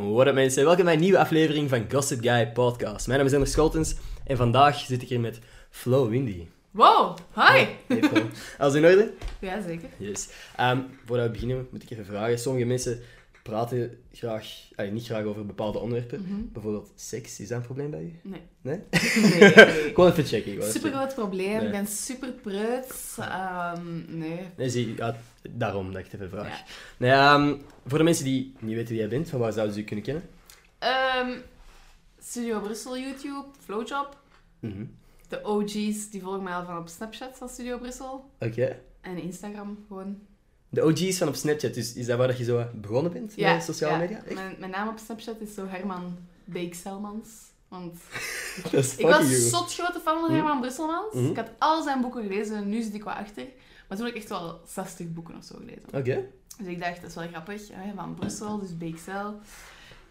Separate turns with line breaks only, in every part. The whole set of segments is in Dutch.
What up mensen, welkom bij een nieuwe aflevering van Gossip Guy Podcast. Mijn naam is Ender Scholtens en vandaag zit ik hier met Flo Windy.
Wow, hi!
Hey Flo, alles in orde?
Ja, zeker.
Yes. Ehm, voordat we beginnen moet ik even vragen. Sommige mensen praten graag, allee, niet graag over bepaalde onderwerpen.
Mhm.
Bijvoorbeeld seks, is dat een probleem bij u?
Nee.
Nee?
Nee, nee.
Ik wil even checken. ik wil even
Super
checken.
groot probleem,
Nee.
ik ben super preuts. Ehm, nee.
Nee, zie, ja, daarom dat ik het even vraag.
Ja.
Nee, ehm, voor de mensen die niet weten wie jij bent, van waar zouden ze je kunnen kennen?
Ehm, Studio Brussel YouTube, Flowjob.
Mhm.
De OG's die volgen mij al van op Snapchat van Studio Brussel.
Oké.
En Instagram gewoon.
De OG's van op Snapchat, dus is dat waar dat je zo begonnen bent met sociale
ja.
media? Echt?
Mijn, mijn naam op Snapchat is zo Herman Beekselmans. Want
Dat is
ik
fucking
was
you.
zot grote fan van
Mhm.
Herman Brusselmans.
Mhm.
Ik had al zijn boeken gelezen en nu zit ik wel achter. Maar toen heb ik echt wel 60 boeken of zo gelezen.
Oké.
Dus ik dacht, dat is wel grappig. hè, Van Brussel, dus BXL.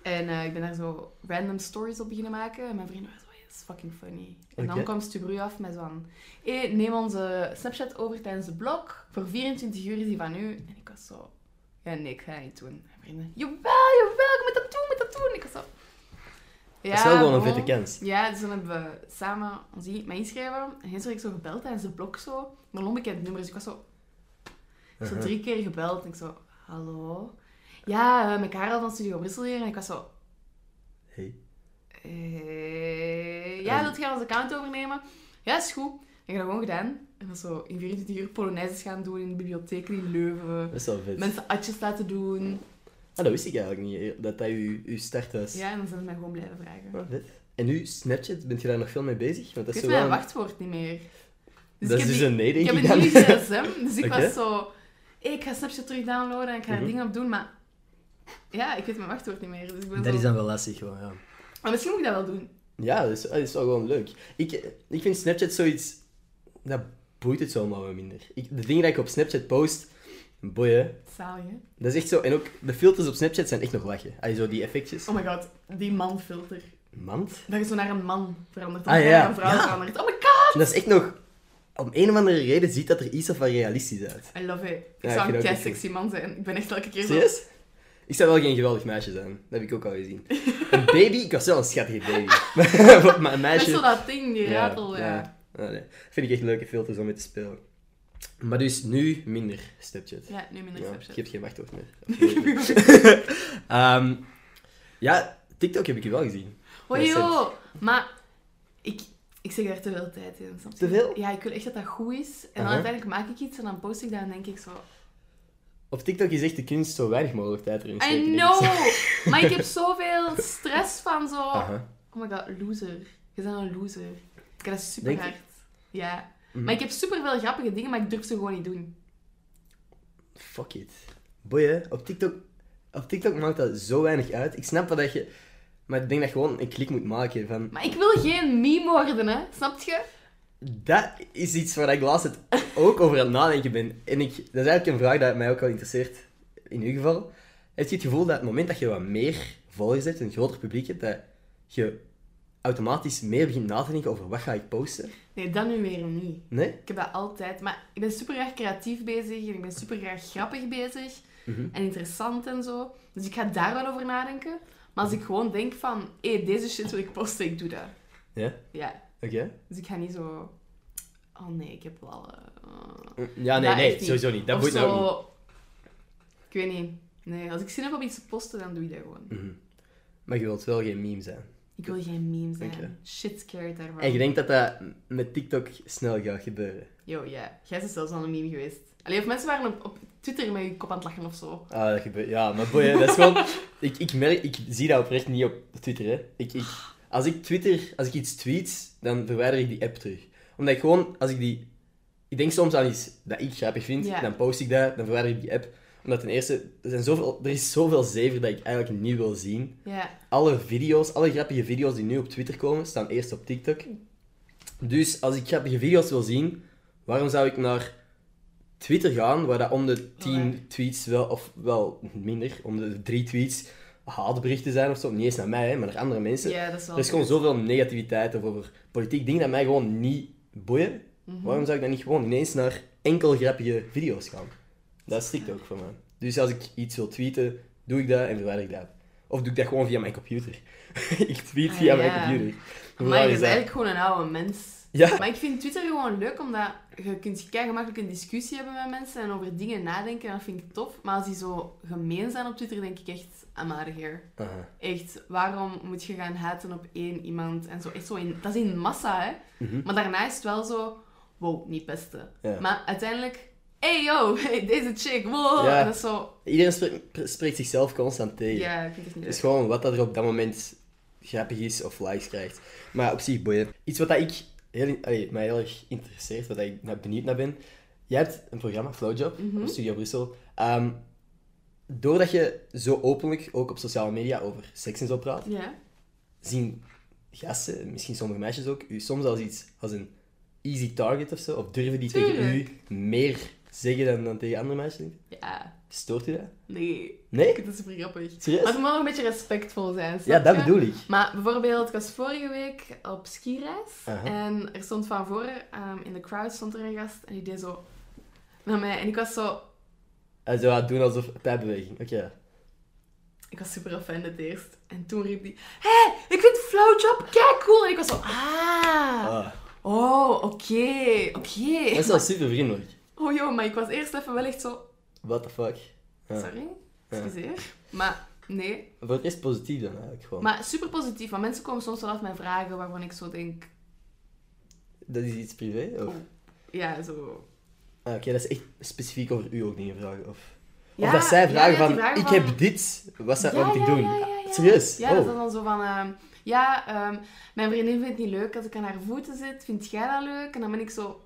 En eh, ik ben daar zo random stories op beginnen maken. En mijn vrienden waren zo, "Hey, dat is fucking funny. En
Oké.
dan kwam Stubru af met zo'n... Hé, neem onze Snapchat over tijdens de blog. Voor 24 uur is die van u. En ik was zo... Ja, nee, ik ga dat niet doen. En mijn vrienden, jawel, jawel, je moet dat doen, je moet dat doen. En ik was zo... Ja,
dat is wel gewoon een
bon."
vette kans.
Ja, dus dan hebben we samen ons in- mij inschrijven. En eens werd ik zo gebeld tijdens de blok zo. Maar een onbekend nummer, dus ik was zo... Ik zo
Aha.
drie keer gebeld en ik zo... Hallo? Ja, eh, met Karel van Studio Brussel hier. En ik was zo...
Hey.
eh, ja, wilt jij ons account overnemen? Ja, is goed. En ik heb dat gewoon gedaan. En was zo in 24 uur Polonaises gaan doen in de bibliotheek in Leuven.
Dat is wel vet.
Mensen atjes laten doen.
Ah, dat wist ik eigenlijk niet, dat dat je, je start was.
Ja, en dan zijn ze mij gewoon blijven vragen.
Ah, vet. En nu, Snapchat, bent je daar nog veel mee bezig? Want dat is
Ik weet
zo
mijn
wel een-
wachtwoord niet meer. Dus
dat
ik
is
heb
dus
die-
een nee, denk
Ik
ik,
heb
dan.
een nieuw gsm, dus ik
Oké.
was zo... "Hey, ik ga Snapchat terug downloaden en ik ga er
Mhm.
dingen op doen, maar... Ja, ik weet mijn wachtwoord niet meer, dus ik ben
dat
zo...
is dan wel lastig, gewoon, ja.
Maar misschien moet ik dat wel doen.
Ja, dat is, dat is wel gewoon leuk. Ik, eh, ik vind Snapchat zoiets... Dat boeit het zo allemaal wel minder. Ik, de dingen die ik op Snapchat post, boeien.
Zalig, hè?
Dat is echt zo. En ook, de filters op Snapchat zijn echt nog lachen. Allee, zo die effectjes.
Oh my god, die manfilter.
Mand.
Dat je zo naar een man verandert, of
Ah,
naar
ja.
een vrouw
Ja.
verandert. Oh my god!
En dat is echt nog... Om een of andere reden ziet dat er iets of wat realistisch uit.
I love it. Ik
Ja, ik
zou
vind
een
ook
kei
echt
sexy man zijn. Ik ben echt elke keer zo...
Serieus? Ik zou wel geen geweldig meisje zijn. Dat heb ik ook al gezien. Een baby? Ik was wel een schattige baby. Maar- maar een
Met zo
meisje...
dat ding, die ratel, ja. ja.
ja. Nee, Vind ik echt leuke filters om mee te spelen. Maar dus nu minder Snapchat.
nu minder
Ja,
Snapchat.
ik heb geen wachtwoord meer. Ehm, ja, TikTok heb ik wel gezien.
Hoi,
Ja,
joh. Maar ik, ik zeg daar te veel tijd in. snap je?
Te veel?
Ja, ik wil echt dat dat goed is. En dan
Aha.
uiteindelijk maak ik iets en dan post ik dat en denk ik zo...
Op TikTok is echt de kunst zo weinig mogelijk tijd erin steken,
I
denk ik.
know! maar ik heb zoveel stress van zo...
Aha.
Oh my god, loser. Je bent een loser. Ik heb dat super
Denk je?
hard. Ja.
Mhm.
Maar ik heb super veel grappige dingen, maar ik durf ze gewoon niet doen.
Fuck it. Boeien, op TikTok, op TikTok maakt dat zo weinig uit. Ik snap wel dat je... Maar ik denk dat je gewoon een klik moet maken van...
Maar ik wil geen meme worden, hè. Snap je?
Dat is iets waar ik laatst het ook over aan het nadenken ben. En ik, dat is eigenlijk een vraag die mij ook wel interesseert. In uw geval. Heb je het gevoel dat het moment dat je wat meer volgers hebt, een groter publiek hebt, dat je automatisch meer begint na te denken over wat ga ik posten?
Nee, dat nu weer niet.
Nee?
Ik heb dat altijd. Maar ik ben super graag creatief bezig en ik ben super graag grappig bezig.
Mhm.
En interessant en zo. Dus ik ga daar wel over nadenken. Maar als ik gewoon denk van, hé, deze shit wil ik posten, ik doe dat.
Ja?
Ja.
Oké.
Dus ik ga niet zo... Oh nee, ik heb wel... eh,
Ja, Ah, nee,
Dat
nee,
echt niet.
sowieso niet. Dat
Of
boeit me ook niet.
zo. Ik weet niet. Nee, als ik zin heb om iets te posten, dan doe ik dat gewoon.
Mhm. Maar je wilt wel geen meme zijn.
Ik wil geen meme zijn.
Oké.
Shit scared daarvan.
En je denkt dat dat met TikTok snel gaat gebeuren.
Yo, ja. Jij bent zelfs al een meme geweest. Allee, of mensen waren op, op Twitter met je kop aan het lachen of zo.
Ah, dat gebeurt. Ja, maar boeien, dat is gewoon... ik, ik, merk, ik zie dat oprecht niet op Twitter, hè. Ik, ik, als ik Twitter... Als ik iets tweet, dan verwijder ik die app terug. Omdat ik gewoon... Als ik die... Ik denk soms aan iets dat ik grappig vind,
Ja.
dan post ik dat, dan verwijder ik die app. Omdat ten eerste, er, zijn zoveel, er is zoveel zever dat ik eigenlijk niet wil zien.
Ja.
Alle video's, alle grappige video's die nu op Twitter komen, staan eerst op TikTok. Dus als ik grappige video's wil zien, waarom zou ik naar Twitter gaan, waar dat om de 10 tweets wel, of wel minder, om de 3 tweets haatberichten zijn of zo? Niet eens naar mij, hè, maar naar andere mensen.
ja, dat is wel...
Er is gewoon zoveel negativiteit over politiek, dingen dat mij gewoon niet boeien.
Mhm.
Waarom zou ik dan niet gewoon ineens naar enkel grappige video's gaan? Dat is TikTok voor mij. Dus als ik iets wil tweeten, doe ik dat en verwijder ik dat. Of doe ik dat gewoon via mijn computer? ik tweet
Ah,
via
ja.
mijn computer. Hoe
Maar
raar
je
is
bent
dat?
eigenlijk gewoon een oude mens.
Ja.
Maar ik vind Twitter gewoon leuk, omdat je kunt kei gemakkelijk een discussie hebben met mensen en over dingen nadenken. en Dat vind ik tof. Maar als die zo gemeen zijn op Twitter, denk ik echt I'm out of here.
Aha.
Echt, waarom moet je gaan haten op één iemand? En zo, echt zo in, dat is in massa, hè.
Mhm.
Maar daarna is het wel zo, wow, niet pesten.
Ja.
Maar uiteindelijk, hey yo, hey, deze chick, wow.
Ja.
En dat is zo,
Iedereen spreekt, spreekt zichzelf constant tegen.
ja, ik vind het niet
Het is
leuk.
gewoon wat dat er op dat moment grappig is of likes krijgt. Maar op zich boeien. Iets wat dat ik heel, allee, mij heel erg interesseert, wat dat ik naar- benieuwd naar ben. Jij hebt een programma, Flowjob, op Studio Brussel. Ehm, doordat je zo openlijk ook op sociale media over seks en zo praat,
Ja.
zien gasten, misschien sommige meisjes ook, u soms als iets als een easy target of zo? Of durven die tegen
Tuurlijk.
u meer zeggen dan, dan tegen andere meisjes? denk je?
Ja.
Stoort u dat?
Nee.
Nee?
Ik vind het super grappig.
Serieus?
Maar het moet wel een beetje respectvol zijn.
Ja,
snap
dat
je?
bedoel ik.
Maar bijvoorbeeld, ik was vorige week op skireis.
Aha.
En er stond van voren, ehm, in de crowd stond er een gast. En die deed zo naar mij. En ik was zo...
Hij zou dat doen alsof pijpbeweging. Oké. ja.
Ik was super offended eerst. En toen riep hij... Hé, ik vind flowjob kijk cool. En ik was zo... Ah.
Ah.
Oh, oké. oké.
Dat is wel super vriendelijk.
Oh joh, maar ik was eerst even wel echt zo...
What the fuck. Ja.
Sorry. Excuseer. Maar nee.
Voor het rest positief dan eigenlijk gewoon.
Maar super positief, want mensen komen soms wel af met vragen waarvan ik zo denk,
Dat is iets privé? Of...
Oh. ja, zo.
Ah, Oké, dat is echt specifiek over u ook dingen vragen. Of,
Ja,
of dat zij
ja,
vragen
ja,
van,
die vragen
ik
van-
heb dit, wat zou
Ja,
wat moet ik
ja,
doen?
ja, ja, ja.
Serieus?
Ja, dat is
oh.
dan zo van, ehm, ja, ehm, mijn vriendin vindt het niet leuk als ik aan haar voeten zit, vind jij dat leuk? En dan ben ik zo,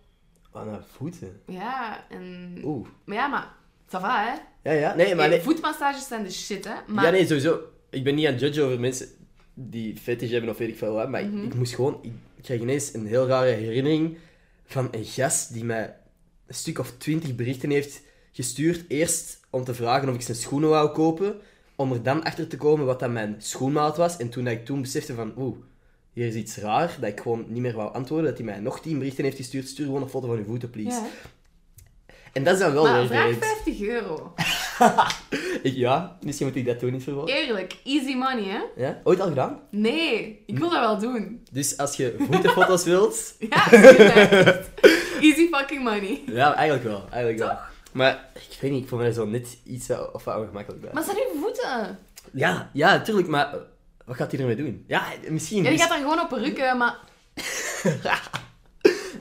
Aan haar voeten.
ja, en...
nou, Oeh.
Maar ja, maar, ça va, hè?
Ja, ja. Nee, maar
Hey,
nee.
Voetmassages zijn de shit, hè? Maar,
Ja, nee, sowieso. Ik ben niet aan het judgen over mensen die fetish hebben of weet ik veel wat. Maar ik-
Mhm.
ik, moest gewoon... Ik, ik kreeg ineens een heel rare herinnering van een gast die mij een stuk of twintig berichten heeft gestuurd. Eerst om te vragen of ik zijn schoenen wou kopen. Om er dan achter te komen wat dat mijn schoenmaat was. En toen dat ik toen besefte van... Oeh, hier is iets raar. Dat ik gewoon niet meer wou antwoorden. Dat hij mij nog tien berichten heeft gestuurd. Stuur gewoon een foto van uw voeten, please.
Ja, hè.
En dat is dan wel
maar
weer
vraag
vreemd.
50 euro.
Ik- Ja, misschien moet ik dat toen niet verwachten.
Eerlijk, easy money, hè?
Ja? Ooit al gedaan?
Nee, ik wil dat wel doen.
Dus als je voetenfoto's wilt...
Ja, echt. easy fucking money.
Ja, eigenlijk wel. Eigenlijk wel.
Toch?
Maar ik weet niet, ik vond mij zo net iets wel- of wat ongemakkelijk bij.
Maar het zijn uw voeten?
Ja, ja, tuurlijk, maar eh, wat gaat hij ermee doen? Ja, misschien.
Ja, die
is-
gaat daar gewoon op rukken, maar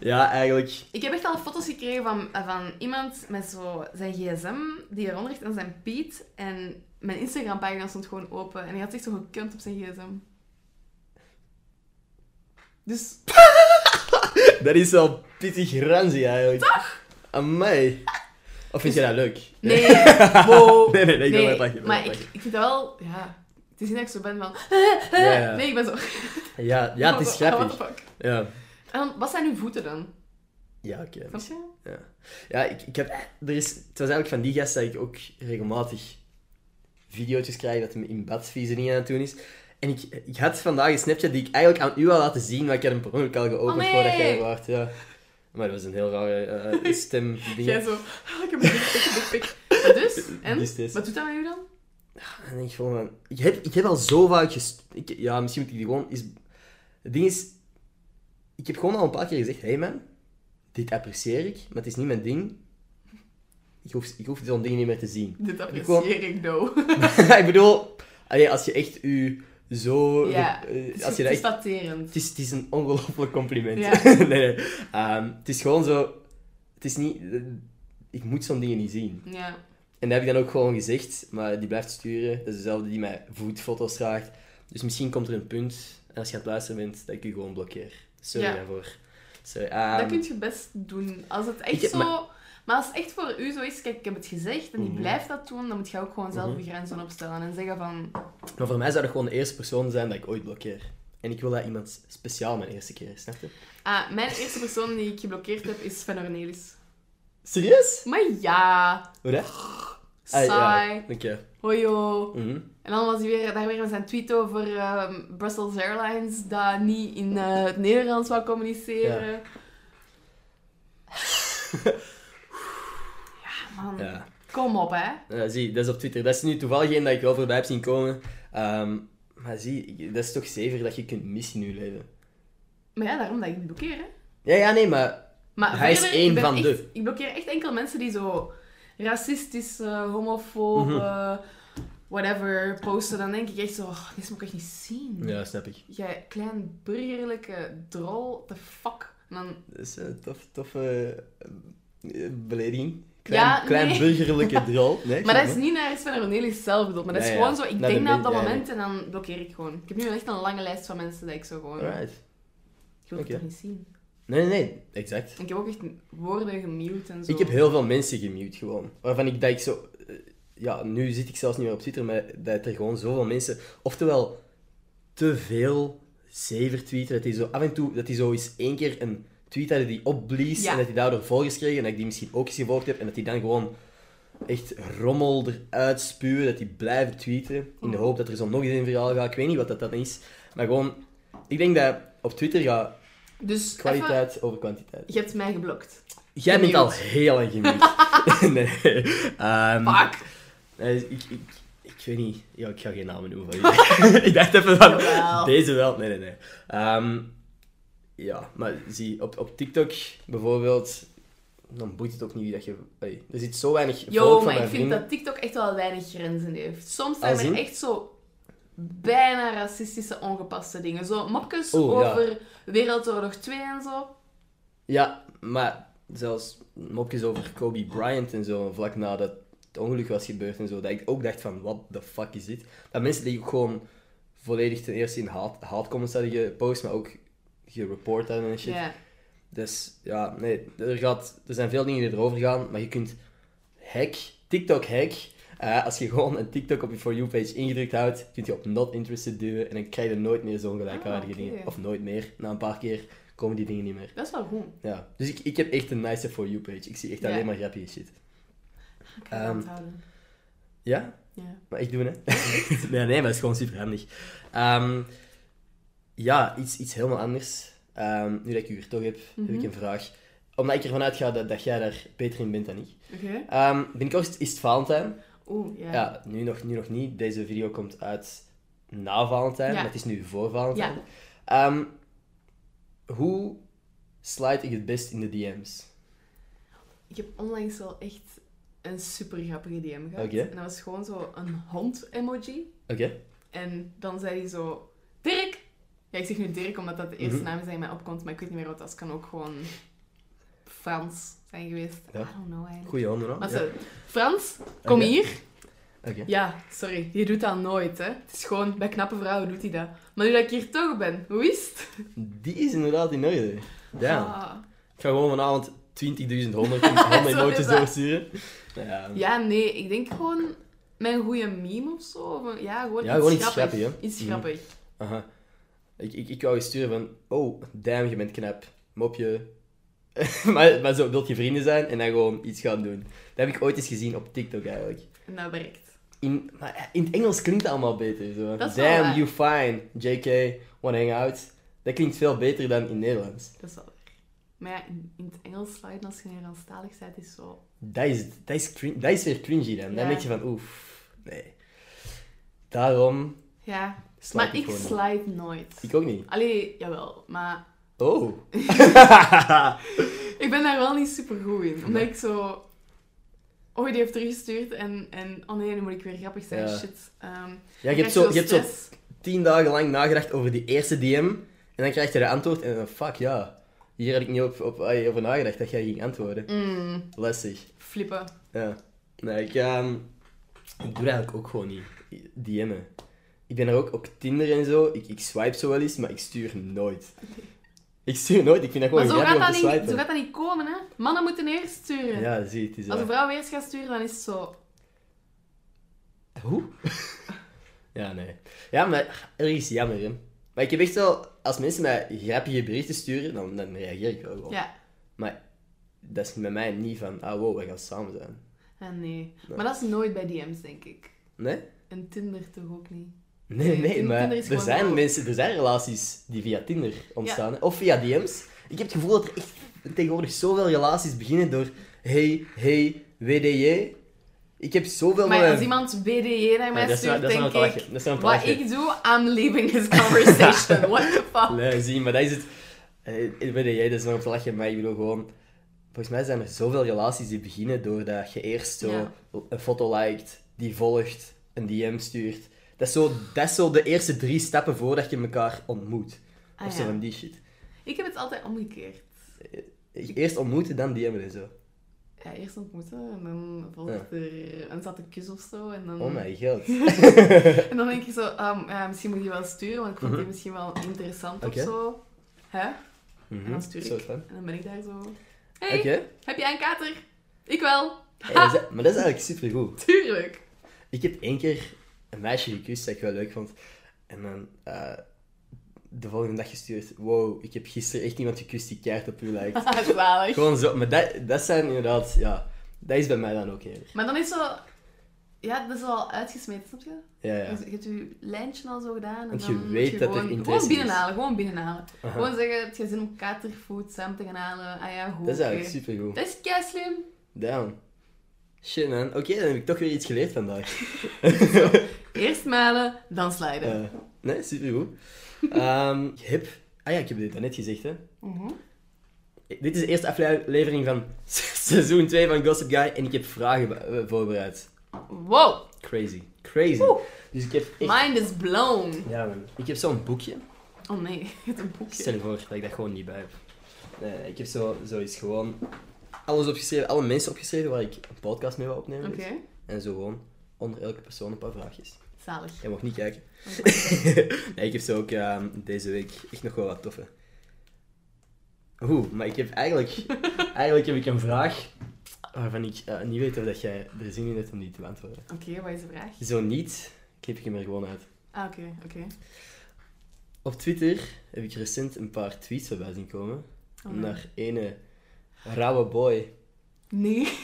ja eigenlijk.
ik heb echt al foto's gekregen van, van iemand met zo zijn gsm die eronder ligt en zijn Piet. En mijn Instagram-pagina stond gewoon open en hij had zich zo gekund op zijn gsm. Dus
Dat is wel pittig ranzig eigenlijk. Toch? Amai. Of vind je dat leuk?
nee, wow.
Nee, nee, nee, ik ben wel lachen, ik ben
maar
wel
ik,
lachen.
ik vind dat wel, ja. Het is niet dat ik zo ben van.
Ja, ja.
Nee, ik ben zo.
Ja, ja, het is grappig.
What the fuck?
Ja,
En dan, wat zijn uw voeten dan?
ja oké.
Snap je?
Ja, ja ik, ik heb... Er is, het was eigenlijk van die gast dat ik ook regelmatig video's krijg dat hem in badsviezen niet aan het doen is. En ik, ik had vandaag een Snapchat die ik eigenlijk aan u al laten zien, maar ik had hem per ongeluk al geopend
Oh, nee.
voordat jij er waart. Ja. Maar dat was een heel rare eh, stem.
Jij
ding.
zo. ah, ik heb een pik, ik heb een pik. Maar dus, en?
Dus deze.
Wat doet dat met u dan?
En ik gewoon van, ik heb, ik heb al zo vaak gest... ik- ja, misschien moet ik die gewoon... Is, het ding is, ik heb gewoon al een paar keer gezegd, hey man, dit apprecieer ik, maar het is niet mijn ding. Ik hoef, ik hoef zo'n ding niet meer te zien.
Dit
gewoon-
apprecieer ik nou.
ik bedoel, allee, als je echt je zo...
Ja,
eh,
Het is
als je dat echt,
constaterend.
het, is, het is een ongelooflijk compliment.
Ja.
nee, nee. Ehm, het is gewoon zo... Het is niet... eh, Ik moet zo'n dingen niet zien.
Ja.
En dat heb ik dan ook gewoon gezegd, maar die blijft sturen. Dat is dezelfde die mij voetfoto's vraagt. Dus misschien komt er een punt, en als je aan het luisteren bent, dat ik u gewoon blokkeer. Sorry
Ja.
daarvoor. Sorry. ehm,
dat kun je best doen. Als het echt
Ik-
zo... Maar... als het echt voor u zo is, kijk, ik heb het gezegd en die
Mhm.
blijft dat doen, dan moet je ook gewoon zelf je grenzen opstellen en zeggen van...
Maar voor mij zou dat gewoon de eerste persoon zijn dat ik ooit blokkeer. En ik wil dat iemand speciaal mijn eerste keer, is, snap je?
Ah, mijn eerste persoon die ik geblokkeerd heb, is Sven Ornelis.
Serieus?
Maar ja...
Hoe dat? Ah,
Saai.
ja. Oké.
Hojo.
Mhm.
En dan was hij weer, daar weer met zijn tweet over ehm, Brussels Airlines, dat niet in eh, het Nederlands wou communiceren. Ja, man.
Ja.
Kom op, hè.
Eh, Ja, zie, dat is op Twitter. Dat is nu toevallig één dat ik wel voorbij heb zien komen. Ehm, maar zie, ik- dat is toch zever dat je kunt missen in je leven.
Maar ja, daarom dat ik blokkeer, hè.
Ja, ja, nee, maar...
Maar
Hij is
verder,
één
ik ben
van
echt,
de.
Ik blokkeer echt enkel mensen die zo racistisch, eh homofoob,
Mhm.
eh, whatever posten. Dan denk ik echt zo, oh, dit moet ik echt niet zien.
Ja, snap ik.
Jij klein burgerlijke drol, the fuck. En dan,
Dat is een tof, toffe eh, belediging. Klein,
Ja,
klein
nee.
burgerlijke drol. Nee, ik
maar dat
snap
is niet naar Sven Cornelis zelf bedoeld, maar dat is
Ja, ja.
gewoon zo, ik
Naar de
denk na op dat
wind, ja,
moment en dan blokkeer ik gewoon. Ik heb nu echt een lange lijst van mensen dat ik zo gewoon,
het. Alright.
ik wil het
oké.
toch niet zien.
Nee, nee, nee, exact.
En ik heb ook echt woorden gemute en zo.
Ik heb heel veel mensen gemute gewoon. Waarvan ik dat ik zo. eh, Ja, nu zit ik zelfs niet meer op Twitter, maar dat er gewoon zoveel mensen. Oftewel, te veel zever tweeten. Dat die zo af en toe, dat die zo eens één keer een tweet hadden die opblies.
Ja.
En dat die daardoor volgers kregen. En dat ik die misschien ook eens gevolgd heb. En dat die dan gewoon echt rommel eruit spuwen. Dat die blijven tweeten. In
Mm.
de hoop dat er zo nog eens een verhaal gaat. Ik weet niet wat dat dan is. Maar gewoon, ik denk dat op Twitter gaat
Dus even,
kwaliteit over kwantiteit.
je hebt mij geblokt.
Jij bent
Gemute.
al heel lang gemute. nee. Ehm,
Fuck!
nee, ik, ik, ik weet niet. Ja, ik ga geen namen noemen van jullie. ik dacht even van,
Jawel.
deze wel. Nee, nee, nee. Ehm, ja, maar zie, op, op TikTok bijvoorbeeld, dan boeit het ook niet wie dat je... ey, er zit zo weinig volk
Yo,
van
maar
mijn
ik vind
vrienden.
dat TikTok echt wel weinig grenzen heeft. Soms zijn
Als in?
er echt zo bijna racistische, ongepaste dingen. Zo mopjes
Oeh, Oh, ja.
over Wereldoorlog 2 en zo.
Ja, maar zelfs mopjes over Kobe Bryant en zo, vlak nadat het ongeluk was gebeurd en zo, dat ik ook dacht van, what the fuck is dit? Dat mensen die ook gewoon volledig ten eerste in haat, haatcomments hadden gepost, maar ook gereport hadden en shit.
Ja.
Dus ja, nee, er, gaat, er zijn veel dingen die erover gaan, maar je kunt hack, TikTok hack. eh, als je gewoon een TikTok op je For You page ingedrukt houdt, kun je op not interested duwen en dan krijg je nooit meer zo'n gelijkaardige
Ah, oké.
dingen. Of nooit meer. Na een paar keer komen die dingen niet meer.
Dat is wel goed.
Ja, dus ik, ik heb echt een nice for you page. Ik zie echt
Ja.
alleen maar grappige shit.
Ik ga het
Ehm.
onthouden.
Ja,
Ja.
maar echt doen hè? nee, nee, maar het is gewoon super handig. ja, iets, iets helemaal anders. Ehm, nu dat ik u hier toch heb, heb ik
Mhm.
een vraag. Omdat ik ervan uitga dat, dat jij daar beter in bent dan ik.
Oké.
Ehm binnenkort is het Valentijn.
Oeh, ja.
Ja, nu nog, nu nog niet. Deze video komt uit na Valentijn,
Ja.
maar het is nu voor
Ja.
Valentijn. Ehm, hoe slide ik het best in de DM's?
Ik heb onlangs wel echt een super grappige DM gehad.
Oké.
En dat was gewoon zo een hond-emoji.
Oké.
En dan zei hij zo, Dirk! Ja, ik zeg nu Dirk omdat dat de eerste
Mhm.
naam is die in mij opkomt, maar ik weet niet meer wat. Dat is. kan ook gewoon Frans zijn geweest.
Ja.
I don't know eigenlijk.
Goeie handen, hoor.
Maar
Ja.
zo, Frans, kom
Oké.
hier.
Oké.
Ja, sorry, je doet dat nooit, hè. Het is gewoon, bij knappe vrouwen doet hij dat. Maar nu dat ik hier toch ben, hoe is het?
Die is inderdaad in orde. Ja.
Ah.
Ik ga gewoon vanavond 20.100
Zo is
honderd
dat.
doorsturen. Ja.
Ja, nee, ik denk gewoon mijn goede meme of zo. Of een- Ja, gewoon,
Ja,
iets,
gewoon iets
grappig.
grappig, hè.
Iets
Mhm.
grappig.
Aha. Ik, ik, ik wou je sturen van, oh, damn, je bent knap. Mopje. maar, maar zo, wilt je vrienden zijn en dan gewoon iets gaan doen. Dat heb ik ooit eens gezien op TikTok eigenlijk.
En dat werkt.
In, maar eh, in het Engels klinkt het allemaal beter. Zo.
Dat is wel
damn,
waar.
you fine. JK, wanna hang out. Dat klinkt veel beter dan in Nederlands.
Dat is wel waar. Maar ja, in, in het Engels sliden als je Nederlandstalig bent, is zo...
Dat is, dat is, crin- dat is weer cringy dan. Dan
Ja.
denk je van, oef, nee. Daarom
Ja,
sla
maar ik
gewoon niet.
slide nooit.
Ik ook niet.
Allee, jawel, maar
Oh.
ik ben daar wel niet super goed in. Omdat ik zo. Oh, die heeft teruggestuurd en, en. Oh nee, nu moet ik weer grappig zijn.
Ja.
Shit. Ehm,
Ja,
dan
je hebt,
krijg
zo,
wel
je hebt zo
stress.
tien dagen lang nagedacht over die eerste DM. En dan krijg je de antwoord en dan, fuck ja. Hier had ik niet op, op, ay, over nagedacht dat jij ging antwoorden.
Mm,
Lastig.
flippen.
Ja. Nee, ik, ehm, ik doe dat eigenlijk ook gewoon niet. DM'en. Ik ben er ook op Tinder en zo. Ik, ik swipe zo wel eens, maar ik stuur nooit. Ik stuur nooit. Ik vind dat
Maar
gewoon
zo gaat,
grappig
dat
om te
niet, zo
swipen.
gaat dat niet komen, hè? Mannen moeten eerst sturen.
Ja, zie, het is eh,
Als een
waar.
vrouw eerst gaat sturen, dan is het zo.
Hoe? ja, nee. Ja, maar er is jammer, hè. Maar ik heb echt wel... Als mensen mij grappige berichten sturen, dan, dan reageer ik wel gewoon.
Ja.
Maar dat is met mij niet van, ah wow, we gaan samen zijn.
Ah, nee. Maar dat is nooit bij DM's, denk ik.
Nee?
En Tinder toch ook niet?
Nee, nee,
Tinder-
maar
Tinder is
er
gewoon
zijn
wel-
mensen, er zijn relaties die via Tinder ontstaan, hè. of via DM's. Ik heb het gevoel dat er echt tegenwoordig zoveel relaties beginnen door hey, hey, WDJ. Ik heb zoveel
Maar
van
als
mijn-
iemand BDE naar mij
eh, Ja, dat is nou-
stuurt,
dat is nou
denk
het lachen.
ik...
Dat is nou het
Wat
lachen.
ik doe, I'm leaving this conversation. What the fuck?
Nee, zie, maar dat is het. Eh, weet jij, dat is nog op te lachen, maar ik bedoel gewoon. Volgens mij zijn er zoveel relaties die beginnen doordat je eerst zo
Ja.
een foto liked, die volgt, een DM stuurt. Dat is, zo, dat is zo de eerste drie stappen voordat je elkaar ontmoet.
Ah,
of zo
ja.
van die shit.
Ik heb het altijd omgekeerd.
Eerst ontmoeten, dan DM'en en zo.
Ja, eerst ontmoeten en dan volgt er een zatte kus of zo. En dan,
Oh mijn god.
en dan denk ik zo, ehm, ja, misschien moet je wel sturen, want ik vond die misschien wel interessant
Mhm. Oké.
of zo. Hè?
Mhm,
En dan stuur
soort
ik.
van.
En dan ben ik daar zo.
Oké.
Hey, heb jij een kater? Ik wel.
Hey, dat is- maar dat is eigenlijk supergoed.
Tuurlijk.
Ik heb één keer een meisje gekust dat ik wel leuk vond. En dan eh, de volgende dag gestuurd. Wow, ik heb gisteren echt iemand gekust die keihard op u lijkt.
Zalig.
Gewoon zo. Maar dat, dat zijn inderdaad, ja. Dat is bij mij dan ook eerder.
Maar dan is zo... Ja, dat is al uitgesmeten, snap je?
Ja, ja.
Dus je hebt je lijntje al zo gedaan. En
Want je
dan moet
weet dat er
gewoon,
interesse
Gewoon binnenhalen, gewoon binnenhalen.
Aha.
Gewoon zeggen, heb je zin om katerfood samen te gaan halen? Ah ja, goed.
Dat is eigenlijk
oké.
supergoed.
Dat is kei slim.
Damn. Shit, man. Oké, dan heb ik toch weer iets geleerd vandaag.
Eerst malen, dan slijden.
Eh, nee, supergoed. Ehm ik heb... Ah ja, ik heb dit net gezegd, hè.
Mhm.
Dit is de eerste aflevering van seizoen 2 van Gossip Guy. En ik heb vragen be- eh, voorbereid.
Wow,
Crazy. Crazy.
Oeh.
Dus ik heb echt...
mind is blown.
Ja, man. Ik heb zo'n boekje.
Oh nee, het een
Stel
boekje.
je voor dat ik dat gewoon niet bij heb. Nee, ik heb zo, zoiets gewoon alles opgeschreven, alle mensen opgeschreven waar ik een podcast mee wil opnemen.
Oké,
dus. En zo gewoon onder elke persoon een paar vraagjes.
zalig.
Jij mag niet kijken. nee, ik heb zo ook ehm, deze week echt nog wel wat toffe. Oeh, maar ik heb eigenlijk, eigenlijk heb ik een vraag waarvan ik eh, niet weet of dat jij er zin in hebt om die te beantwoorden.
Oké, wat is de vraag?
Zo niet, knip ik hem er gewoon uit.
Ah, oké, oké.
Op Twitter heb ik recent een paar tweets voorbij zien komen.
Oh, nee.
naar ene rauwe boy.
Nee.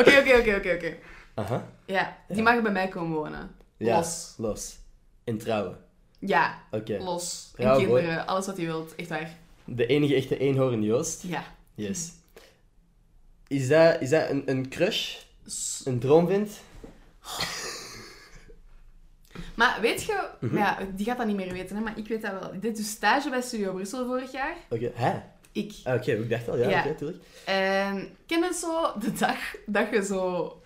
Oké, oké, oké, oké, oké.
Aha.
Ja, die
Ja.
mag bij mij komen wonen.
Ja.
Los.
Los. En trouwen.
Ja,
Oké.
los. En
Ja, mooi.
kinderen, alles wat je wilt. Echt waar.
De enige echte eenhoorn Joost.
Ja.
Yes. Is dat, is dat een, een crush?
S-
Een droomwind?
Maar weet je,
Mhm.
ja, die gaat dat niet meer weten, hè, maar ik weet dat wel. Ik deed dus stage bij Studio Brussel vorig jaar.
Oké. Hè?
Ik.
Ah, Oké, ik dacht al. Ja,
Ja.
oké, tuurlijk.
En ken je Ehm, zo de dag dat je zo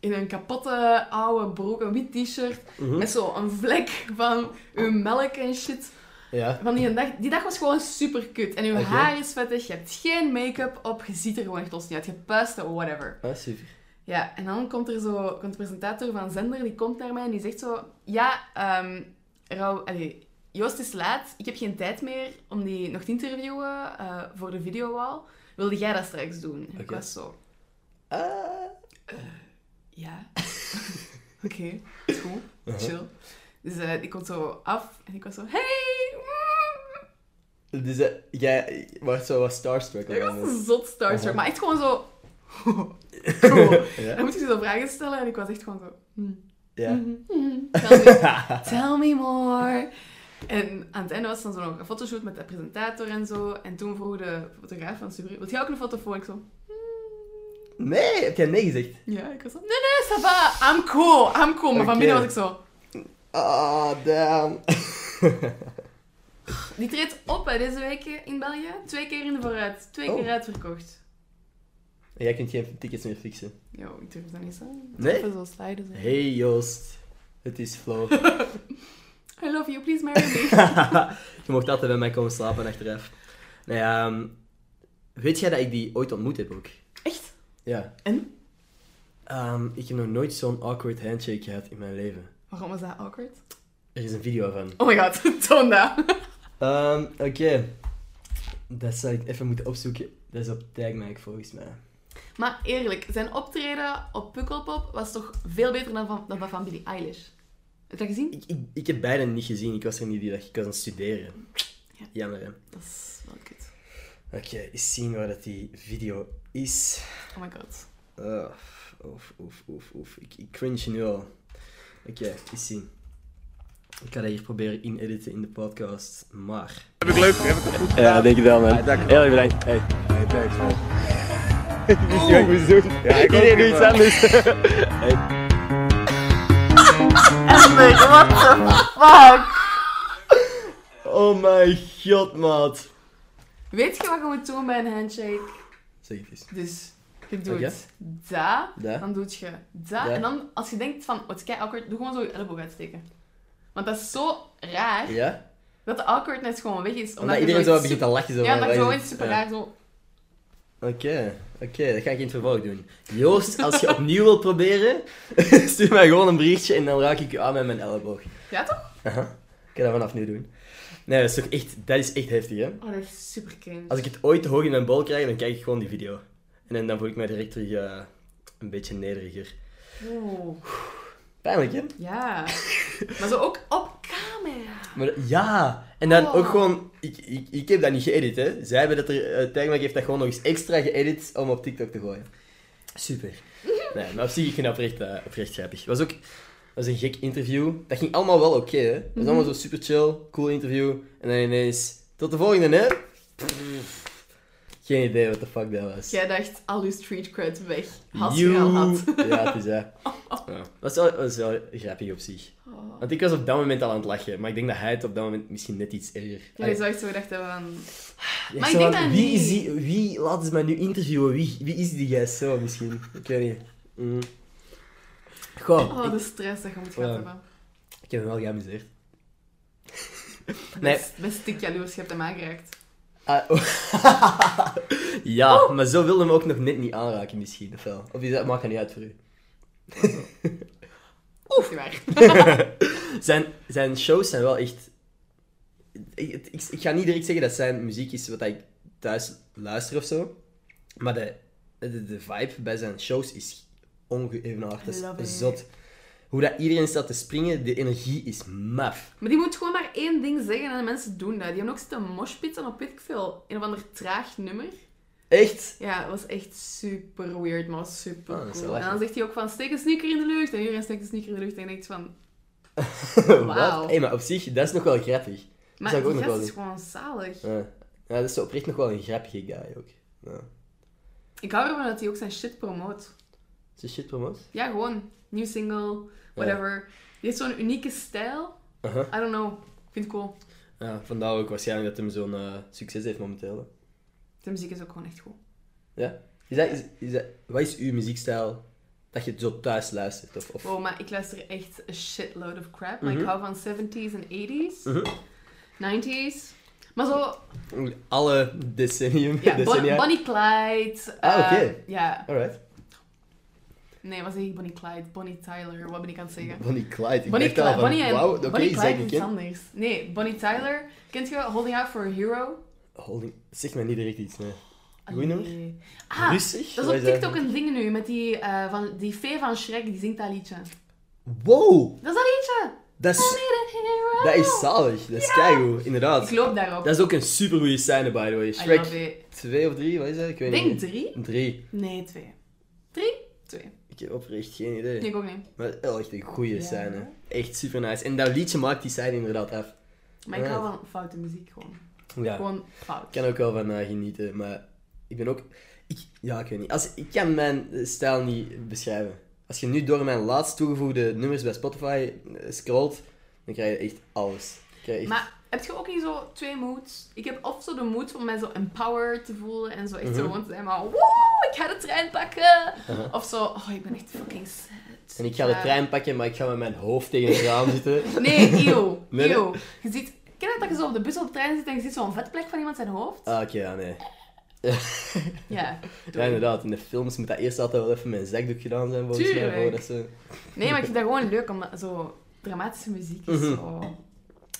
in een kapotte oude broek, een wit t-shirt,
Mhm.
met zo een vlek van uw melk en shit.
Ja.
Van die, dag, die dag was gewoon super kut. En uw
Oké.
haar is vettig, je hebt geen make-up op, je ziet er gewoon echt los niet uit. Je puist, whatever.
Ah, super.
Ja, en dan komt er zo, komt de presentator van Zender, die komt naar mij en die zegt zo... Ja, ehm Rauw, allee, Joost is laat, ik heb geen tijd meer om die nog te interviewen eh, voor de videowall. Wilde jij dat straks doen? En Ik
Oké.
was zo...
Ah.
Ja. Oké, is goed. Chill. Dus eh, ik kom zo af en ik was zo... Hey! mm.
Dus eh, jij wordt zo wat starstruck.
Ik was
allemaal.
een zot Star Trek,
Aha.
maar echt gewoon zo... cool.
Ja.
Dan moet ik zo vragen stellen en ik was echt gewoon zo... hmm,
Ja.
hmm, hmm, Tell me, tell me more. En aan het einde was dan zo nog een fotoshoot met de presentator en zo. En toen vroeg de fotograaf van Subru, wil jij ook een foto voor? Ik zo... "Hmm."
Nee, heb jij nee gezegd?
Ja, ik was zo... Nee, nee, ça va. I'm cool, I'm cool. Maar van
Oké.
binnen was ik zo...
Ah, damn.
Die treedt op hè, deze week in België. Twee keer in de vooruit. Twee keer
Oh.
uitverkocht.
jij kunt geen tickets meer fixen.
Yo, ik durf dat niet zo.
Nee?
Even zo sliden. zo.
Hey Joost, het is Flo.
I love you, please marry me.
je mocht altijd bij mij komen slapen achteraf. Nee, ehm, weet jij dat ik die ooit ontmoet heb ook?
Echt?
Ja.
En?
Ehm, ik heb nog nooit zo'n awkward handshake gehad in mijn leven.
Waarom was dat awkward?
Er is een video van.
Oh my god, toon dat.
Ehm, Oké. Dat zou ik even moeten opzoeken. Dat is op Tagmike volgens mij.
Maar eerlijk, zijn optreden op Pukkelpop was toch veel beter dan, van, dan dat van Billie Eilish? Heb je dat gezien?
Ik, ik, ik heb beide niet gezien. Ik was er niet die dag. Ik was aan het studeren.
Ja.
Jammer hè.
Dat is wel kut.
Oké, eens zien waar dat die video is.
Oh my god.
Ah, oef, oef, oef, oef. Ik, ik cringe nu al. Oké, eens zien. Ik ga dat hier proberen inediten in de podcast, maar...
Heb ik leuk? Heb ik het goed?
Ja, denk je wel, man.
dank je
Heel erg bedankt. Hey.
Nee, thanks man. Wist je wat ik moest doen?
Ja, ik
Iedereen
ook,
doet iets
man.
anders.
what the fuck?
Oh mijn god, maat.
Weet je wat je moet doen bij een handshake?
Zeg het eens.
Dus je doet
Oké.
dat,
Da.
dan doe je dat.
Da.
En dan, als je denkt van, wat is kei awkward, doe gewoon zo je elleboog uitsteken. Want dat is zo raar,
Ja?
dat de awkwardness gewoon weg is.
Omdat
je
iedereen zo
zoiets
begint te lachen. Zo
super- Ja,
van,
omdat je
waar
gewoon
is het?
super
Ja.
raar zo...
Oké, oké, dat ga ik in het vervolg doen. Joost, als je opnieuw wilt proberen, stuur mij gewoon een berichtje en dan raak ik je aan met mijn elleboog.
Ja, toch?
Aha. Ik kan dat vanaf nu doen. Nee, dat is toch echt, dat is echt heftig, hè?
Oh, dat is super cringe.
Als ik het ooit te hoog in mijn bol krijg, dan kijk ik gewoon die video. En dan- dan voel ik mij direct terug eh, een beetje nederiger.
Wow.
Pijnlijk, hè?
Ja. maar zo ook op camera.
Maar, dat- ja, en dan
Oh.
ook gewoon, ik, ik, ik heb dat niet geëdit, hè? Zij hebben dat er, eh, Tijgmak heeft dat gewoon nog eens extra geëdit om op TikTok te gooien. Super. Nee, maar op zich, ik vind dat oprecht, eh, oprecht grappig. Was ook, was een gek interview. Dat ging allemaal wel oké, hè? Dat was allemaal zo super chill, cool interview. En dan ineens, tot de volgende, hè? Pff, geen idee wat de fuck dat was.
Jij dacht, al je street cred weg. Had
You-
je al had.
Ja, het is dat. Ja. Was, wel, was wel grappig op zich.
Oh.
Want ik was op dat moment al aan het lachen, maar ik denk dat hij het op dat moment misschien net iets erger...
Ja,
Allee,
je zag zo gedacht hebben van...
Ja,
Maar
zo
ik denk
van,
dat
wie
niet.
Is die, wie, laten ze mij nu interviewen. Wie, wie is die gast zo misschien? Ik weet niet. Mm. Goh,
Oh,
ik,
de stress dat je moet gehad
Ja.
hebben.
ik heb me wel geamuseerd. Nee.
Best, best dik jaloers, je hebt hem aangeraakt.
Ah, oh. ja, maar zo wilde hem ook nog net niet aanraken misschien, of wel? Of is dat, maakt dat niet uit voor u.
Oef. Niet waar.
Zijn, zijn shows zijn wel echt... Ik, het- ik, ik ga niet direct zeggen dat zijn muziek is wat ik thuis luister of zo. Maar de, de, de vibe bij zijn shows is ongeëvenaard.
I
Dat
love it.
is zot. Hoe dat iedereen staat te springen, de energie is maf.
Maar die moet gewoon maar één ding zeggen en de mensen doen dat. Die hebben ook zitten moshpitten op weet ik veel. Een of ander traag nummer.
Echt?
Ja, het was echt super weird, maar was super
Oh, dat is wel
cool. En dan
lachen.
zegt hij ook van, steek een sneaker in de lucht. En iedereen steekt een sneaker in de lucht en je denkt van...
Wat?
Wauw.
Hey, maar op zich, dat is nog wel grappig.
Maar
zou ik ook
die
nog
gast
wel
is gewoon zalig.
Ja, ja dat is zo oprecht nog wel een grappige guy ook. Ja.
Ik hou ervan dat hij ook zijn shit promoot.
Is dit shit promoot?
Ja, gewoon. Nieuw single, whatever. Die heeft zo'n unieke stijl.
Aha.
I don't know. Ik vind het cool.
Ja, vandaar ook waarschijnlijk dat hij zo'n eh, succes heeft momenteel. hè.
De muziek is ook gewoon echt goed.
Ja. Is dat, is, is dat, wat is uw muziekstijl dat je zo thuis luistert? Of, of...
Wow, maar ik luister echt a shitload of crap. Maar
Mhm.
ik hou van 70s en 80s,
Mhm.
90s. Maar zo,
Alle decennium.
ja, Bon-
decennia.
Bonnie Clyde.
Ah,
eh,
oké.
Ja,
Alright.
nee, wat zeg ik? Bonnie Clyde, Bonnie Tyler, wat ben ik aan het zeggen?
Bonnie Clyde. Ik
Bonnie
dacht al
Clyde,
van,
Bonnie en
wauw, oké,
Bonnie
zij
Clyde
niet
is
kent.
iets anders. Nee, Bonnie Tyler. Kent je Holding Out for a Hero?
Holding... Zeg mij niet direct iets, nee.
Ah,
Goeie nummer?
nee. Ah,
Rustig?
dat
Wat
is op TikTok een ding nu, met die, eh, van, die fee van Shrek, die zingt dat liedje.
Wow!
Dat is dat liedje!
Dat
I
is,
need a hero!
dat is zalig. Dat is
Ja.
keigoed, inderdaad.
Ik loop daarop.
Dat is ook een supergoeie scène, by the way.
I
Shrek
love it.
2 of 3, wat is dat? Ik
Ik
weet
denk
niet.
drie?
3.
Nee, twee. Drie? Twee.
Ik heb oprecht geen idee.
Ik ook niet.
Maar wel echt een goeie
Ja.
scène. Echt super nice. En dat liedje maakt die scène inderdaad af.
Maar ik
Ja.
hou van foute muziek gewoon.
Ja.
Gewoon fout.
Ik kan ook wel van eh, genieten, maar ik ben ook. Ik, ja, ik weet niet. Als, ik kan mijn eh, stijl niet beschrijven. Als je nu door mijn laatst toegevoegde nummers bij Spotify eh, scrolt, dan krijg je echt alles. Dan Krijg je echt...
Maar heb je ook niet zo twee moods? Ik heb of zo de moed om mij zo empowered te voelen en zo echt zo
Mhm.
gewoon te zijn van woe, ik ga de trein pakken.
Aha.
Of zo, oh ik ben echt fucking sad.
En ik ga de
Ja.
trein pakken, maar ik ga met mijn hoofd tegen het raam zitten.
Nee, eeuw.
Nee, nee.
Eeuw. Je ziet, ken je dat je zo op de bus of de trein zit en je ziet zo'n vetplek van iemand zijn hoofd?
Ah, oké, ja, nee.
Ja.
Ja, inderdaad. In de films moet dat eerst altijd wel even met een zakdoek gedaan zijn, volgens
Tuurlijk.
mij. Voordat ze...
Nee, maar ik vind dat gewoon leuk om zo dramatische muziek is
Mhm.
zo.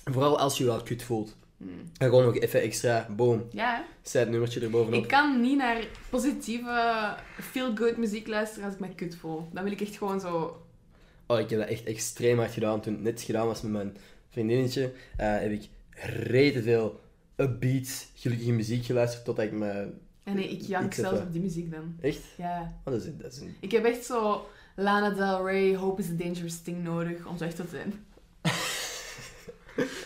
Vooral als je je wel kut voelt.
Hmm.
En gewoon nog even extra, boom,
Ja. hè?
zet nummertje erbovenop.
Ik kan niet naar positieve, feel-good muziek luisteren als ik me kut voel. Dan wil ik echt gewoon zo...
Oh, ik heb dat echt extreem hard gedaan. Toen het net gedaan was met mijn vriendinnetje, eh, heb ik rete veel upbeat, gelukkige muziek geluisterd totdat ik me...
En nee, ik jank
Ik zet
zelfs
dat.
op die muziek dan.
Echt?
Ja.
Oh, dat is, dat is een...
Ik heb echt zo Lana Del Rey, Hope is a Dangerous Thing nodig om zo echt tot te zijn.